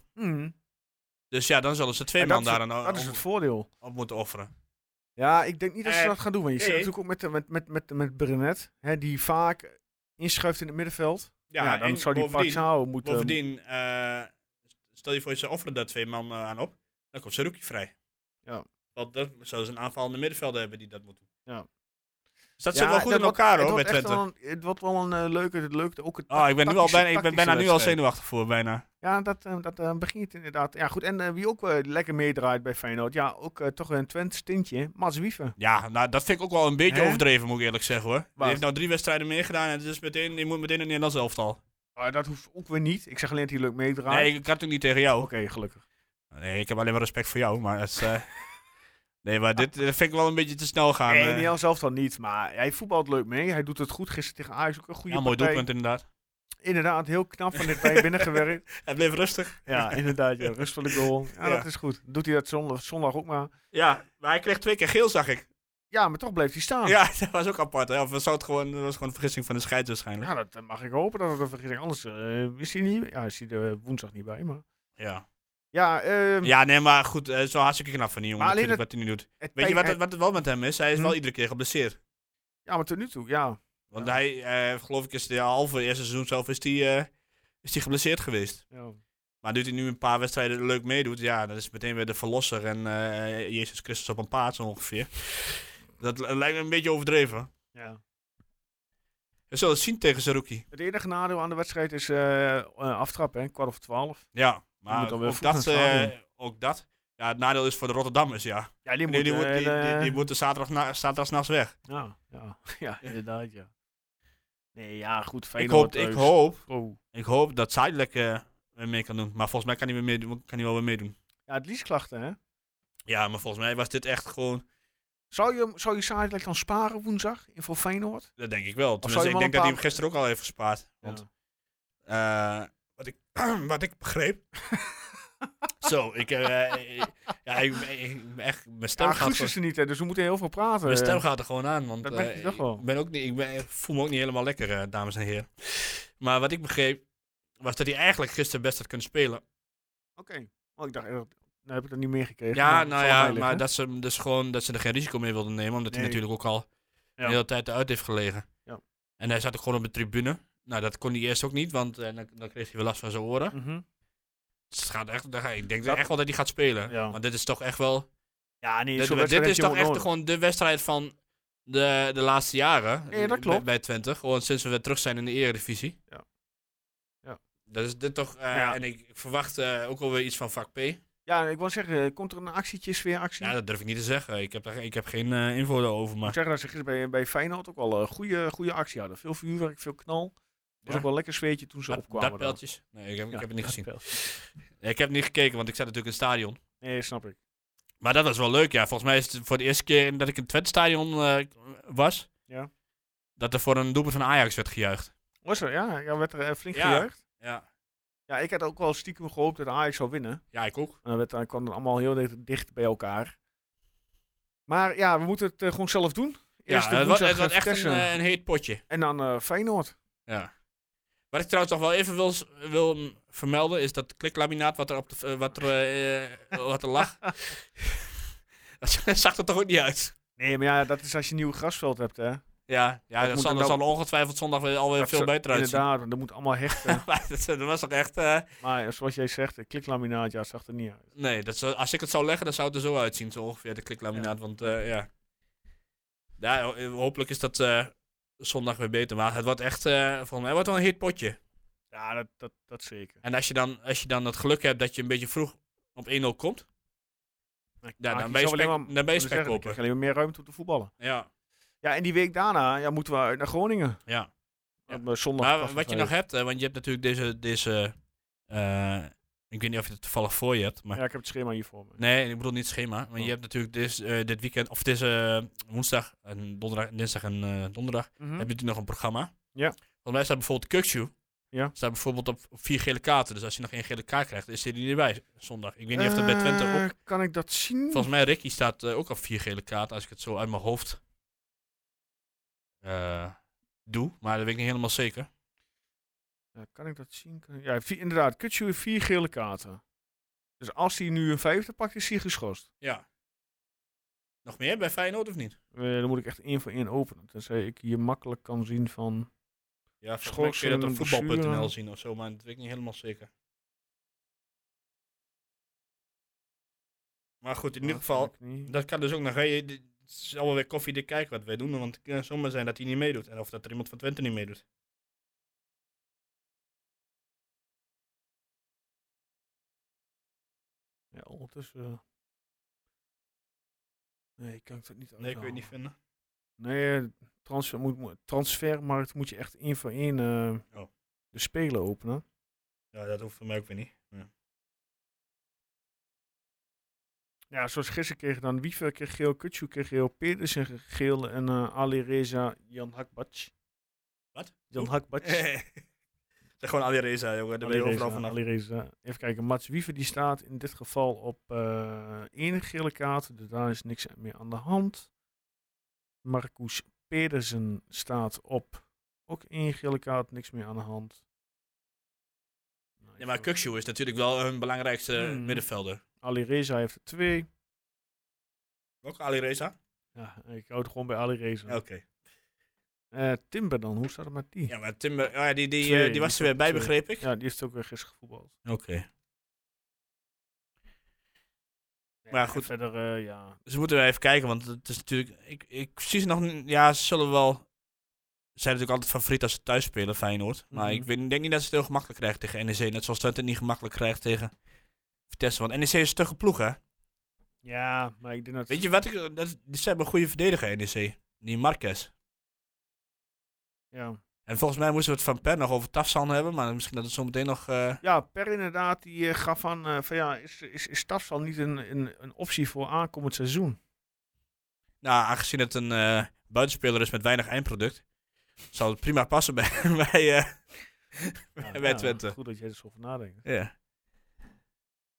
S4: Dus ja, dan zullen ze twee
S1: Mhm. En
S4: man
S1: dat, is
S4: daar
S1: het,
S4: aan-
S1: dat is het
S4: op-
S1: voordeel.
S4: op moeten offeren.
S1: Ja, ik denk niet dat ze
S4: Eh,
S1: dat gaan doen. Want je zit
S4: nee.
S1: natuurlijk ook met, eh, met, met, met, met Brenet, hè, die vaak inschuift in het middenveld. Ja, dan
S4: en
S1: zou die
S4: bovendien,
S1: Paxao moeten...
S4: bovendien eh, stel je voor, ze offeren daar twee man eh, aan op. Dan komt Saruki vrij.
S1: Ja.
S4: Want dat zouden ze een aanvallende middenvelder hebben die dat moet doen.
S1: Ja.
S4: Dus dat
S1: Ja,
S4: zit wel goed
S1: dat
S4: in
S1: wordt-
S4: elkaar
S1: het
S4: hoor, bij
S1: wordt echt
S4: Twente.
S1: wel een- het wordt wel een eh, leuke, het leuke ook het
S4: Oh, ik ben, nu al
S1: tactische-
S4: bijna, ik ben bijna nu al
S1: tactische
S4: zenuwachtig voor, bijna.
S1: Ja, dat, eh, dat eh, begint inderdaad. Ja, goed. En eh, wie ook eh, lekker meedraait bij Feyenoord, ja, ook eh, toch een Twente stintje, Mats Wieven.
S4: Ja, nou, dat vind ik ook wel een beetje
S1: Hè?
S4: overdreven, moet ik eerlijk zeggen hoor. Die
S1: Waar?
S4: heeft nou drie wedstrijden meer gedaan en het is meteen, die moet meteen in Nederlands elftal.
S1: Maar Ah, dat hoeft ook weer niet. Ik zeg alleen dat hij leuk meedraait.
S4: Nee, ik kan het ook niet tegen
S1: Oké,
S4: jou.
S1: gelukkig.
S4: Nee, ik heb alleen maar respect voor jou, maar het is... eh, (laughs) nee, maar dit, eh, vind ik wel een beetje te snel gaan.
S1: nee,
S4: eh.
S1: Niel zelf dan niet, maar hij voetbalt leuk mee. Hij doet het goed gisteren tegen Ajax, ook een goede
S4: ja, mooi
S1: partij.
S4: doelpunt inderdaad.
S1: Inderdaad, heel knap van dit bij
S4: (laughs)
S1: binnengewerkt.
S4: Hij bleef rustig.
S1: Ja, inderdaad, ja, rust van de goal. Ja,
S4: Ja.
S1: dat is goed. Doet hij dat zondag, zondag ook maar.
S4: Ja, maar hij kreeg twee keer geel, zag ik.
S1: Ja, maar toch blijft hij staan.
S4: Ja, (laughs) dat was ook apart. Hè. Of was het gewoon, dat was gewoon een vergissing van de scheids waarschijnlijk.
S1: Ja, dat eh, mag ik hopen dat het een vergissing anders eh, is. Hij niet, ja, is hij er eh, woensdag niet bij, maar...
S4: Ja,
S1: Ja, ehm,
S4: ja nee, maar goed, eh, zo hartstikke knap van die jongen
S1: Maar alleen
S4: natuurlijk, wat hij nu doet.
S1: het
S4: Weet je
S1: tijd-
S4: wat,
S1: hij-
S4: het- wat het wel met hem is? Hij is
S1: Hm?
S4: wel iedere keer geblesseerd.
S1: Ja, maar tot nu toe, ja.
S4: Want
S1: Ja.
S4: hij, eh, geloof ik, is de halve eerste seizoen zelf is die, eh, is die geblesseerd geweest.
S1: ja.
S4: Maar nu hij nu een paar wedstrijden leuk meedoet, ja, dat is meteen weer de verlosser en eh, Jezus Christus op een paard zo ongeveer. Dat li- lijkt me een beetje overdreven. We zullen het zien tegen Saruki.
S1: Het enige nadeel aan de wedstrijd is eh, eh, aftrap, hè? kwart over twaalf.
S4: Ja,
S1: moet
S4: maar
S1: dan weer
S4: ook
S1: vroeg (laughs)
S4: dat,
S1: naar het
S4: eh,
S1: stadion.
S4: ook dat. Ja, het nadeel is voor de Rotterdammers, ja.
S1: Ja, die
S4: Die, die, moet-
S1: eh,
S4: die, die,
S1: de-
S4: die moeten zaterdag na- zaterdagsnachts weg.
S1: Ja, ja, (laughs) ja, inderdaad, ja. Nee, ja, goed.
S4: Ik
S1: Feyenoord
S4: hoop, ik,
S1: thuis.
S4: hoop,
S1: Oh.
S4: ik hoop dat Zijdelijk eh, weer mee kan doen. Maar volgens mij kan hij, weer meedoen- kan hij wel weer meedoen.
S1: Ja, het liefst klachten, hè?
S4: Ja, maar volgens mij was dit echt gewoon
S1: Zou je, zou je Saadelijk dan sparen woensdag in voor Feyenoord?
S4: Dat denk ik wel.
S1: zou je
S4: Tenminste, ik
S1: hem
S4: denk
S1: al
S4: dat hij
S1: een
S4: hem gisteren ook al heeft
S1: (laughs)
S4: (clears throat) gespaard. Want eh, wat, ik, wat ik begreep. Zo, ik, eh, eh, ja, ik, ik- echt, mijn stem
S1: Ja,
S4: gaat
S1: Guus is
S4: gewoon,
S1: er niet, hè, dus we moeten heel veel praten.
S4: mijn stem gaat er gewoon aan, want
S1: Dat merk
S4: eh,
S1: je toch wel.
S4: ik, ben ook niet, ik, ben, ik voel me ook niet helemaal lekker, eh, dames en heren. Maar wat ik begreep, was dat hij eigenlijk gisteren best had kunnen spelen.
S1: Oké. Oh, ik dacht, eh, nou heb ik dat niet meegekregen.
S4: Ja,
S1: het
S4: nou
S1: zal
S4: ja,
S1: mij liggen.
S4: maar dat ze, hem dus gewoon, dat ze er geen risico mee wilden nemen, omdat hij
S1: Nee.
S4: natuurlijk ook al
S1: Ja.
S4: de hele tijd uit heeft gelegen.
S1: Ja.
S4: En hij zat ook gewoon op de tribune. Nou, dat kon hij eerst ook niet, want eh, dan, dan kreeg hij weer last van zijn oren.
S1: Mhm.
S4: Dus het gaat echt, daar ga- ik denk
S1: Dat-
S4: echt wel dat hij gaat spelen.
S1: Ja.
S4: Want dit is toch echt wel...
S1: Ja, nee,
S4: Dit,
S1: zo'n
S4: dit
S1: wedstrijd heb
S4: is
S1: je
S4: toch echt
S1: gewoon nodig.
S4: gewoon de wedstrijd van de, de laatste jaren.
S1: Ja, dat
S4: bij-
S1: klopt.
S4: Bij Twente, gewoon sinds we weer terug zijn in de Eredivisie.
S1: Ja. Ja.
S4: Dat is dit toch... eh,
S1: Ja.
S4: En ik, ik verwacht eh, ook alweer iets van vak P.
S1: Ja, ik wil zeggen, eh, komt er een actietje, sfeeractie?
S4: Ja, dat durf ik niet te zeggen. Ik heb, daar, ik heb geen eh, info daarover,
S1: Ik moet
S4: maar...
S1: zeggen dat ze gisteren bij, bij Feyenoord ook wel een goede, goede actie hadden. Veel vuurwerk, veel knal. was
S4: Ja.
S1: ook wel een lekker zweetje toen ze opkwamen.
S4: Dat
S1: daar.
S4: pijltjes? Nee, ik heb, ik
S1: Ja,
S4: heb het niet gezien.
S1: dartpijltjes.
S4: Ik heb niet gekeken, want ik zat natuurlijk in het stadion.
S1: Nee, snap ik.
S4: Maar dat was wel leuk, ja. Volgens mij is het voor de eerste keer dat ik in het Twente-stadion eh, was...
S1: Ja.
S4: dat er voor een doelpunt van Ajax werd gejuicht.
S1: Was er, ja. Ja, werd er eh, flink
S4: Ja.
S1: gejuicht.
S4: Ja,
S1: Ja, ik had ook wel stiekem gehoopt dat Ajax zou winnen.
S4: ja ik ook.
S1: En dan werd, dan kwam het allemaal heel dicht- dicht bij elkaar. Maar ja, we moeten het eh, gewoon zelf doen. Eerst
S4: ja,
S1: de
S4: het was,
S1: woensdag,
S4: het was
S1: eh,
S4: echt een,
S1: Vitesse
S4: eh, een heet potje.
S1: en dan eh, Feyenoord.
S4: Ja. Wat ik trouwens nog wel even wil, s- wil mm, vermelden is dat kliklaminaat wat er, op de, v- eh, wat er, eh, wat er lag. (laughs) dat zag er toch ook niet uit.
S1: Nee, maar ja, dat is als je een nieuw grasveld hebt, hè.
S4: Ja, ja dat,
S1: moet
S4: zal,
S1: dan
S4: dat zal
S1: ook-
S4: ongetwijfeld zondag weer alweer
S1: Dat
S4: eh, veel
S1: ze-
S4: beter uitzien.
S1: Inderdaad, want er moet allemaal
S4: (laughs)
S1: hechten.
S4: Maar dat, dat was toch echt. eh,
S1: maar eh, zoals jij zegt, eh, kliklaminaat, ja, zag er niet uit.
S4: nee, dat zou- als ik het zou leggen, dan zou het er zo uitzien, zo ongeveer de kliklaminaat. Want eh, ja. ja, ho- eh, hopelijk is dat eh, zondag weer beter. Maar het wordt echt, eh, volgens mij wordt het wel een hit potje.
S1: Ja, dat, dat, dat zeker.
S4: En als je, dan, als je dan het geluk hebt dat je een beetje vroeg op 1-0 komt, ja, dan ben je spek- dan ben je
S1: Dan krijg
S4: spekkoper.
S1: je alleen maar meer ruimte om te voetballen.
S4: Ja,
S1: Ja, en die week daarna ja, moeten we uit naar Groningen.
S4: ja. Ja.
S1: Op, eh, zondag.
S4: Maar
S1: was het
S4: wat je
S1: wel.
S4: nog hebt, hè, want je hebt natuurlijk deze, deze eh, ik weet niet of je het toevallig voor je hebt, maar...
S1: Ja, ik heb het schema hier voor me.
S4: Nee, ik bedoel niet het schema, maar
S1: Oh.
S4: je hebt natuurlijk dit, eh, dit weekend, of deze woensdag, en donderdag, dinsdag en eh, donderdag, heb
S1: Mhm.
S4: je natuurlijk nog een programma.
S1: Ja.
S4: Volgens mij staat bijvoorbeeld Kukshoe,
S1: Ja.
S4: staat bijvoorbeeld op vier gele kaarten, dus als je nog één gele kaart krijgt, is hij er niet bij zondag. Ik weet niet of dat bij Twente ook...
S1: Eh, Kan ik dat zien?
S4: Volgens mij Ricky staat eh, ook op vier gele kaarten, als ik het zo uit mijn hoofd eh, doe, maar dat weet ik niet helemaal zeker.
S1: Ja, kan ik dat zien? Kan ik- Ja, vi- inderdaad, Kutsu heeft vier gele kaarten. Dus als hij nu een vijfde pakt, is hij geschorst.
S4: Ja. Nog meer bij Feyenoord of niet?
S1: Eh, dan moet ik echt één voor één openen. Tenzij ik hier makkelijk kan zien van...
S4: Ja,
S1: volgens mij kun je dat op Schorsing, voetbal.nl blessure.
S4: zien of zo, maar dat weet ik niet helemaal zeker. Maar goed, in ieder
S1: Ah,
S4: geval, dat kan dus ook nog. hè, je- dit- Het is allemaal weer koffiedik kijken wat wij doen, want het kan zomaar zijn dat hij niet meedoet. En of dat er iemand van Twente niet meedoet.
S1: Ja, ondertussen... eh, Nee, kan ik dat niet
S4: Nee, kun je
S1: uithalen.
S4: het niet vinden.
S1: Nee, eh, transfer moet, moet- transfermarkt moet je echt één voor één eh,
S4: Oh.
S1: de spelen openen.
S4: Ja, dat hoeft voor mij ook weer niet.
S1: Ja, zoals gisteren kreeg dan Wiever kreeg geel, Kutsu kreeg geel, Pedersen kreeg geel en eh, Ali Reza Jan Hakbac.
S4: Wat?
S1: Jan Hakbac.
S4: (laughs) Dat gewoon Ali Reza, jongen. Daar ben je
S1: Ali
S4: overal
S1: Reza,
S4: vanaf.
S1: Ali Reza. Even kijken, Mats Wiever die staat in dit geval op eh één gele kaart. Dus daar is niks meer aan de hand. Marcus Pedersen staat op ook één gele kaart, niks meer aan de hand. Nou,
S4: Ja, maar
S1: ik-
S4: Kukshoe is natuurlijk wel hun belangrijkste
S1: Hmm.
S4: middenvelder.
S1: Ali Reza heeft er twee.
S4: Ook Ali Reza?
S1: Ja, ik houd gewoon bij Ali Reza.
S4: Oké.
S1: Eh, Timber dan, hoe staat het met die? Ja,
S4: Oh. Ja, maar Timber, oh ja, die, die,
S1: Twee,
S4: eh, die was er weer bij,
S1: twee.
S4: begreep ik.
S1: die heeft ook weer gisteren gevoetbald.
S4: Oké. Maar
S1: en
S4: goed.
S1: Verder, eh, ja.
S4: Dus we moeten we even kijken, want het is natuurlijk... Ik, ik zie ze nog... niet- Ja, ze zullen wel... Ze zijn natuurlijk altijd favoriet als ze thuis spelen, Feyenoord. Maar
S1: Mhm.
S4: ik weet- ik denk niet dat ze het heel gemakkelijk krijgen tegen NEC. Net zoals Twente het niet gemakkelijk krijgt tegen Vitesse. Want NEC is een stugge ploeg, hè?
S1: Ja, maar ik denk dat...
S4: Weet je wat? Ik, dat, ze hebben een goede verdediger, NEC. Die Marquez.
S1: Ja.
S4: En volgens mij moesten we het van Per nog over Tafsan hebben. Maar misschien dat het zo meteen nog... eh,
S1: Ja, Per inderdaad, die eh, gaf aan eh, van ja, is, is, is Stafsal niet een, een, een optie voor aankomend seizoen?
S4: (laughs) Nou, aangezien het een eh, buitenspeler is met weinig eindproduct, zal het prima passen bij, (laughs) bij, eh, bij Twente.
S1: Goed dat jij er zo over nadenkt.
S4: Ja.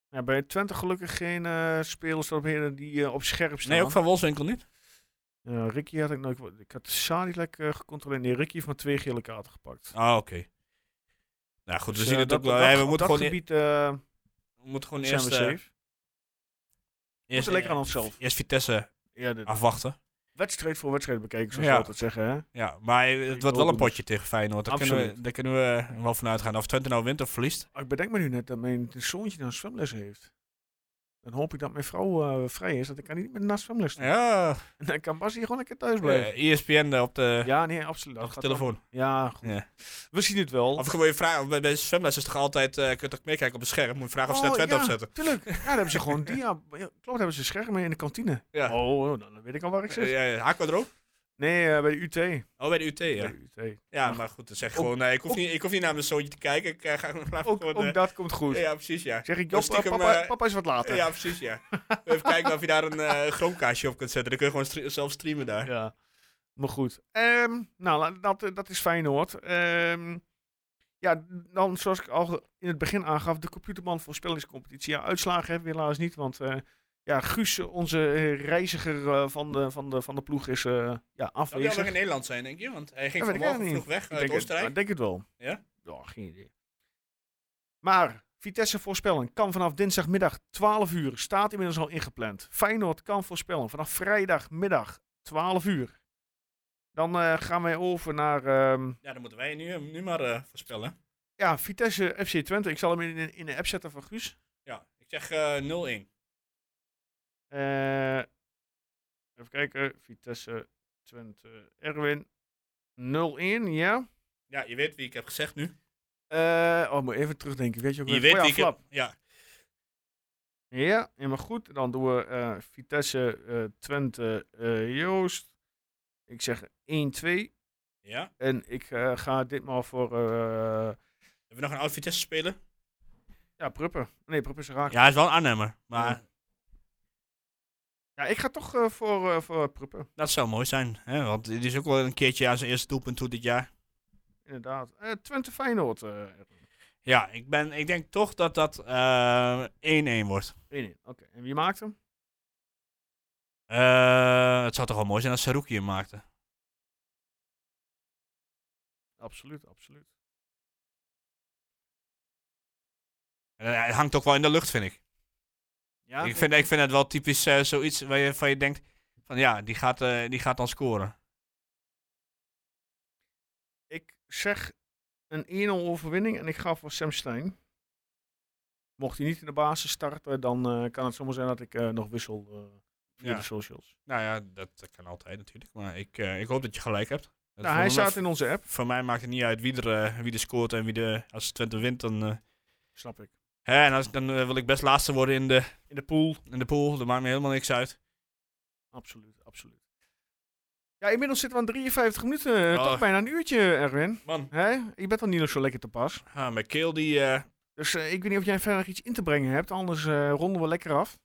S1: Ja, bij Twente gelukkig geen eh, spelers op heden die eh, op scherp staan.
S4: Nee, ook van Wolfswinkel niet.
S1: Ja, Ricky had ik nooit... Ik had Sadilek eh, gecontroleerd. Nee, Ricky heeft maar twee gele kaarten gepakt.
S4: Ah, oké. Nou goed, we
S1: Dus,
S4: zien
S1: eh,
S4: het
S1: dat-
S4: ook wel.
S1: op
S4: Hey,
S1: dat-
S4: we,
S1: op
S4: moeten
S1: dat
S4: gewoon e-
S1: gebied eh
S4: we moeten gewoon
S1: zijn we
S4: eerst, eh,
S1: safe.
S4: eerst,
S1: lekker aan
S4: eh,
S1: onszelf.
S4: eerst Vitesse
S1: Ja, de
S4: afwachten.
S1: wedstrijd voor wedstrijd bekeken, zoals
S4: Ja.
S1: we altijd zeggen. Hè?
S4: Ja, maar het wordt wel een potje tegen Feyenoord. Daar kunnen, we,
S1: Absoluut.
S4: daar kunnen we eh, wel van uitgaan. Of Twente nou wint of verliest.
S1: Maar Ik bedenk me nu net dat mijn zoontje dan zwemles heeft. Dan hoop ik dat mijn vrouw eh, vrij is, want ik kan niet meer naar zwemles. doen.
S4: Ja,
S1: En (laughs) dan kan Bas hier gewoon lekker thuis blijven.
S4: eh, ESPN op de,
S1: ja, nee, absoluut. Dat
S4: op de
S1: gaat
S4: telefoon.
S1: wel. Ja, goed.
S4: Ja.
S1: We zien het wel.
S4: Of gewoon je vragen, bij, bij zwemles is toch altijd, eh, je kunt toch meekijken op het scherm. Moet je vragen of ze
S1: Oh,
S4: net Twente
S1: ja,
S4: opzetten.
S1: Tuurlijk. Ja, daar hebben ze
S4: (laughs)
S1: gewoon dia. Ja, klopt, daar hebben ze schermen in de kantine.
S4: Ja.
S1: Oh, oh, dan weet ik al waar ik zit.
S4: ja, ja. Hakken we er ook?
S1: Nee, eh, bij de UT.
S4: Oh, bij de UT, ja.
S1: Bij de UT.
S4: Ja, maar goed, dan zeg je
S1: Ook-
S4: gewoon, nee, ik hoef,
S1: ook-
S4: niet, ik hoef niet naar mijn zoontje te kijken. Ik eh, ga laat
S1: Ook,
S4: gewoon...
S1: ook
S4: eh,
S1: dat komt goed.
S4: ja, precies, ja.
S1: Zeg ik,
S4: Dan
S1: Job,
S4: stiekem,
S1: papa,
S4: eh,
S1: papa is wat later.
S4: Ja, precies, ja. Even kijken of je daar een eh groomkaasje op kunt zetten. Dan kun je gewoon stre- zelf streamen daar.
S1: Ja, maar goed. Ehm, nou, la- dat, eh, dat is Feyenoord. Ehm ja, dan zoals ik al ge- in het begin aangaf, de computerman voorspellingscompetitie. Ja, uitslagen hebben we helaas niet, want eh, ja, Guus, eh, onze eh, reiziger eh, van, de, van, de, van de ploeg, is eh, ja,
S4: Zou die
S1: afwezig.
S4: alweer in Nederland zijn, denk je? Want hij ging
S1: Dat weet ik
S4: vanmorgen vroeg
S1: eigenlijk
S4: weg eh,
S1: ik denk,
S4: uit
S1: het,
S4: Oostenrijk.
S1: ik denk het wel.
S4: Ja?
S1: geen idee. Maar Vitesse voorspellen kan vanaf dinsdagmiddag 12 uur. Staat inmiddels al ingepland. Feyenoord kan voorspellen vanaf vrijdagmiddag 12 uur. Dan eh, gaan wij over naar ehm,
S4: Ja, dan moeten wij nu, nu maar eh, voorspellen.
S1: ja, Vitesse FC Twente. Ik zal hem in, in de app zetten van Guus.
S4: Ja, ik zeg eh, 0-1.
S1: Eh, even kijken. Vitesse Twente Erwin 0-1, ja.
S4: Ja, je weet wie ik heb gezegd nu.
S1: Eh oh, moet even terugdenken. Weet je ook
S4: Je
S1: weer-
S4: weet
S1: oh, ja,
S4: wie ik
S1: Flap.
S4: heb... Ja,
S1: Ja, helemaal goed. Dan doen we eh, Vitesse, eh, Twente, eh, Joost. Ik zeg 1-2.
S4: ja.
S1: En ik eh, ga ditmaal voor eh,
S4: Hebben we nog een oud Vitesse speler?
S1: ja, Pruppen. Nee, Pruppen is raak. Ja.
S4: Ja, hij is wel een Arnhemmer. Maar
S1: maar ik ga toch eh, voor, eh, voor Pruppen.
S4: dat zou mooi zijn. Hè? Want dit is ook wel een keertje aan zijn eerste doelpunt toe dit jaar.
S1: Inderdaad. Eh, Twente Feyenoord. eh, 1-1.
S4: Ja, ik, ben, ik denk toch dat dat eh, 1-1 wordt.
S1: Oké. En wie maakt hem?
S4: Eh, het zou toch wel mooi zijn als Saruki hem maakte.
S1: Absoluut, absoluut.
S4: Eh, Hij hangt ook wel in de lucht, vind ik.
S1: Ja,
S4: ik, vind, ik vind het wel typisch eh, zoiets waar je, van je denkt: van ja, die gaat, eh, die gaat dan scoren.
S1: ik zeg een 1-0 overwinning en ik ga voor Sam Stein. Mocht hij niet in de basis starten, dan eh, kan het zomaar zijn dat ik eh, nog wissel eh via
S4: Ja.
S1: de socials.
S4: Nou ja, dat, dat kan altijd natuurlijk. Maar ik, eh, ik hoop dat je gelijk hebt. Dat
S1: Nou,
S4: voor
S1: hij
S4: mij-
S1: staat in onze app.
S4: Voor mij maakt het niet uit wie er, eh, wie er scoort en wie de. Als Twente wint, dan. eh,
S1: Snap ik.
S4: hè, en als, dan eh, wil ik best laatste worden in de,
S1: In de pool.
S4: in de pool. Dat maakt me helemaal niks uit.
S1: Absoluut, absoluut. Ja, inmiddels zitten we aan 53 minuten. Eh,
S4: Oh.
S1: Toch bijna een uurtje, Erwin.
S4: Man,
S1: Hè? Ik ben dan niet nog zo lekker te pas.
S4: ah, mijn keel die. eh,
S1: Dus eh, ik weet niet of jij verder nog iets in te brengen hebt. Anders eh, ronden we lekker af.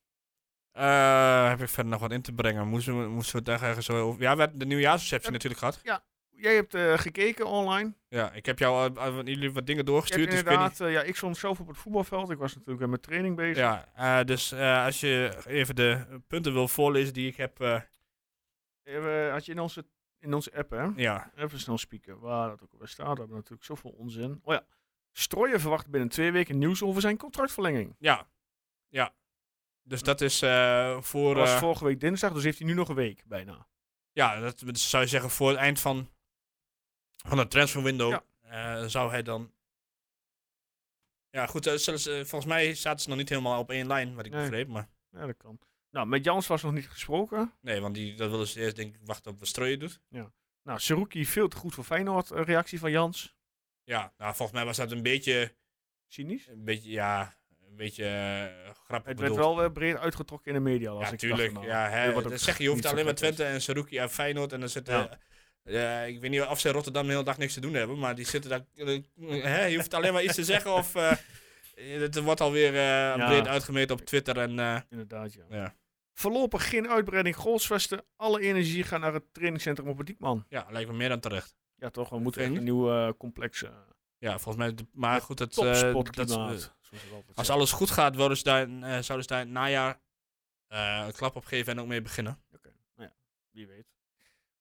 S4: eh, heb ik verder nog wat in te brengen? Moesten we, moesten we het daar ergens zo over. Ja, we hebben de nieuwjaarsreceptie
S1: Ja.
S4: natuurlijk gehad.
S1: Jij hebt eh, gekeken online.
S4: Ja, ik heb jou, eh, aan jullie wat dingen
S1: Ik heb
S4: doorgestuurd. dus ik weet niet-
S1: inderdaad, eh, ja, ik stond zelf op het voetbalveld. Ik was natuurlijk eh, met mijn training bezig.
S4: Ja, eh, dus eh, als je even de punten wil voorlezen die ik heb. eh,
S1: Eh, we- had je in onze, in onze app, hè?
S4: ja,
S1: Even snel spieken. Waar dat ook alweer staat. We hebben natuurlijk zoveel onzin. Oh ja. Strooien verwacht binnen twee weken nieuws over zijn contractverlenging.
S4: ja, ja. Dus dat is eh, voor.
S1: Dat was
S4: eh,
S1: vorige week dinsdag, dus heeft hij nu nog een week bijna.
S4: Ja, dat zou je zeggen voor het eind van, van het transferwindow
S1: Ja.
S4: eh, zou hij dan... Ja, goed, eh, zullen ze- eh, volgens mij zaten ze nog niet helemaal op één lijn, wat ik
S1: Nee.
S4: begreep. Maar
S1: Ja, dat kan. Nou, met Jans was nog niet gesproken.
S4: nee, want die, dat willen ze eerst denk ik wachten op wat Streuer doet.
S1: Nou, Seruki veel te goed voor Feyenoord. eh, reactie van Jans.
S4: Ja, nou, volgens mij was dat een beetje,
S1: Cynisch.
S4: een beetje ja, een beetje eh, grappig
S1: Het werd
S4: bedoeld.
S1: wel weer breed uitgetrokken in de media. Als
S4: ja,
S1: ik
S4: tuurlijk.
S1: dacht, nou,
S4: ja,
S1: dit
S4: hè,
S1: wordt
S4: dat
S1: ook
S4: zeg je, je hoeft
S1: niet zo
S4: alleen maar
S1: vet
S4: Twente en Saruki en Feyenoord en dan zitten...
S1: Ja.
S4: eh, ik weet niet of ze in Rotterdam de hele dag niks te doen hebben, maar die zitten daar... eh, hè, je hoeft alleen maar iets te zeggen of... eh, het wordt alweer eh breed uitgemeten op Twitter en... eh,
S1: is. Inderdaad, ja.
S4: Ja.
S1: Voorlopig geen uitbreiding goalsvesten. Alle energie gaat naar het trainingscentrum op het Diekman.
S4: ja, lijkt me meer dan terecht.
S1: Ja, toch? We moeten
S4: Vind
S1: echt
S4: je
S1: een nieuw eh, complex. eh,
S4: Ja, volgens mij... Maar goed, het, eh,
S1: topsportklimaat.
S4: dat, eh,
S1: zoals het altijd
S4: Als
S1: zegt.
S4: alles goed gaat, worden ze daar, in, eh, zouden ze daar in het najaar eh, een klap op geven en ook mee beginnen.
S1: Wie weet.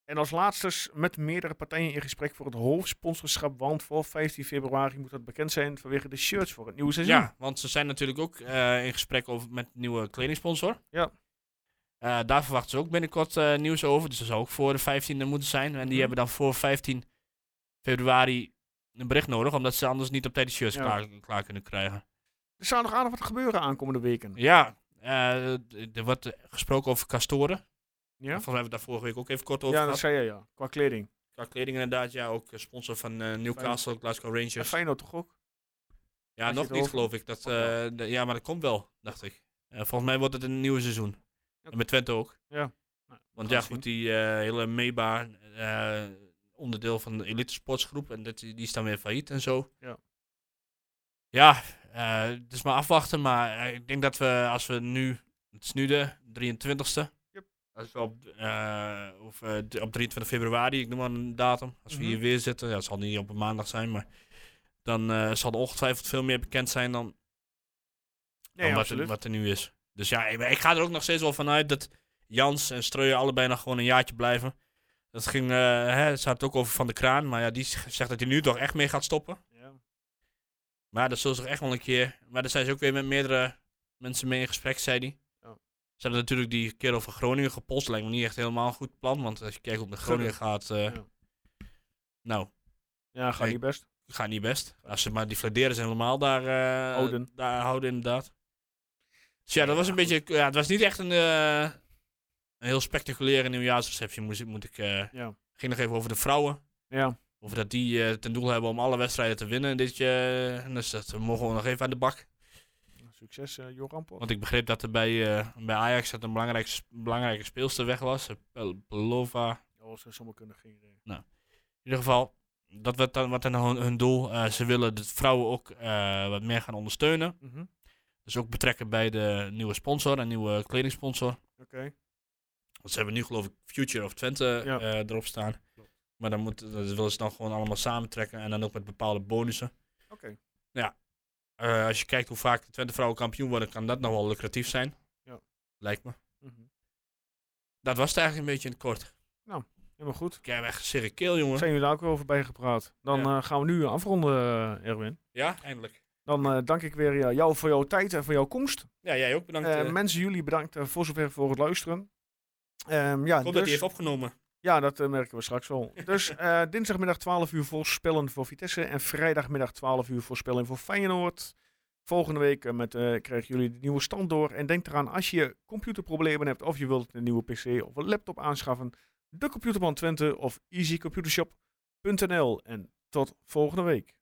S1: En als laatste met meerdere partijen in gesprek voor het hoofdsponsorschap. Want voor 15 februari moet dat bekend zijn vanwege de shirts voor het nieuwe seizoen.
S4: Ja, want ze zijn natuurlijk ook eh, in gesprek over, met nieuwe kledingsponsor.
S1: Ja.
S4: Eh, daar verwachten ze ook binnenkort eh, nieuws over. Dus dat zou ook voor de 15e moeten zijn. En die
S1: Mhm.
S4: hebben dan voor 15 februari een bericht nodig, omdat ze anders niet op tijd de shirts
S1: Ja.
S4: klaar, klaar kunnen krijgen.
S1: Er zou nog aardig wat gebeuren aankomende weken.
S4: Ja, eh, d- er wordt eh, gesproken over kastoren.
S1: Ja,
S4: Volgens mij hebben we daar vorige week ook even kort over
S1: ja dat
S4: gehad.
S1: zei je ja. Qua kleding.
S4: Qua kleding inderdaad, ja. Ook eh, sponsor van eh, Newcastle, Glasgow
S1: En
S4: Rangers.
S1: Feyenoord nou toch ook?
S4: Ja,
S1: had je
S4: nog
S1: het
S4: niet
S1: over?
S4: geloof ik. Dat,
S1: Of wel?
S4: eh, de- ja, maar dat komt wel, dacht ik. Eh, volgens mij wordt het een nieuw seizoen.
S1: Ja.
S4: En met Twente ook.
S1: Ja. Nou,
S4: Want
S1: gaan
S4: ja,
S1: we
S4: goed, die eh, hele MEBA, eh, onderdeel van de elite sportsgroep, en dat, die die is dan weer failliet en zo.
S1: Ja.
S4: Ja, eh, het is maar afwachten, maar eh, ik denk dat we, als we nu, het is nu de 23ste,
S1: Yep.
S4: als we op, eh, of, eh, d- op 23 februari, ik noem maar een datum, als we
S1: Mhm.
S4: hier weer zitten, ja, het zal niet op een maandag zijn, maar dan eh, zal er ongetwijfeld veel meer bekend zijn dan,
S1: Nee,
S4: dan wat, er,
S1: absoluut.
S4: wat er nu is. Dus ja, ik, ik ga er ook nog steeds wel vanuit dat Jans en Streuer allebei nog gewoon een jaartje blijven. Dat ging, eh hè, ze had het ook over Van de Kraan, maar ja, die z- zegt dat hij nu toch echt mee gaat stoppen.
S1: Ja.
S4: Maar dat zullen ze toch echt wel een keer. Maar daar zijn ze ook weer met meerdere mensen mee in gesprek, zei hij.
S1: Ja.
S4: Ze hebben natuurlijk die kerel van Groningen gepost. Lijkt me niet echt helemaal een goed plan, want als je kijkt hoe het met Groningen gaat, eh,
S1: Ja.
S4: nou,
S1: Ja, gaat
S4: Hey.
S1: niet best.
S4: gaat niet best. Als ze maar die fladeren zijn helemaal daar, eh,
S1: Houden.
S4: daar houden, inderdaad. Dus ja, dat
S1: Ja,
S4: was een
S1: goed.
S4: beetje. Ja, het was niet echt een, eh, een heel spectaculaire nieuwjaarsreceptie, moest, ik- moet ik. eh
S1: Ja.
S4: ging nog even over de vrouwen.
S1: Ja,
S4: Over dat die eh, ten doel hebben om alle wedstrijden te winnen. Dit je, dus dat mogen we nog even aan de bak.
S1: succes eh Joran Poch.
S4: Want ik begreep dat er bij, eh, bij Ajax dat een belangrijke, belangrijke speelster weg was. eh, Pel- Belova.
S1: Oh, ze sommigen kunnen geen idee.
S4: In ieder geval, dat werd dan, wat dan hun, hun doel. Eh, ze willen de vrouwen ook eh, wat meer gaan ondersteunen.
S1: Mhm.
S4: Dus ook betrekken bij de nieuwe sponsor, een nieuwe kledingsponsor.
S1: Oké.
S4: Want ze hebben nu geloof ik Future of Twente
S1: Ja.
S4: eh, erop staan. Maar dan moet, dat willen ze dan gewoon allemaal samentrekken en dan ook met bepaalde bonussen.
S1: Oké.
S4: Eh, als je kijkt hoe vaak de Twente vrouwen kampioen worden, kan dat nog wel lucratief zijn.
S1: Ja.
S4: Lijkt me.
S1: Mhm.
S4: Dat was het eigenlijk een beetje in het kort.
S1: Helemaal goed.
S4: Ik heb echt zere keel, jongen.
S1: Zijn jullie daar ook weer over bij gepraat? Dan
S4: Ja.
S1: eh, gaan we nu afronden, eh, Erwin.
S4: Ja, eindelijk.
S1: Dan eh, dank ik weer ja, jou voor jouw tijd en voor jouw komst.
S4: Ja, jij ook bedankt.
S1: Eh,
S4: eh.
S1: mensen, jullie bedankt eh, voor zover voor het luisteren. Ehm, ja,
S4: ik hoop dat
S1: dus-
S4: hij heeft opgenomen.
S1: ja, dat eh, merken we straks
S4: (laughs)
S1: wel. Dus eh, dinsdagmiddag 12 uur voorspellen voor Vitesse en vrijdagmiddag 12 uur voorspellen voor Feyenoord. Volgende week eh, met, eh, krijgen jullie de nieuwe stand door. En denk eraan, als je computerproblemen hebt of je wilt een nieuwe PC of een laptop aanschaffen, de Computerman Twente of easycomputershop.nl. En tot volgende week.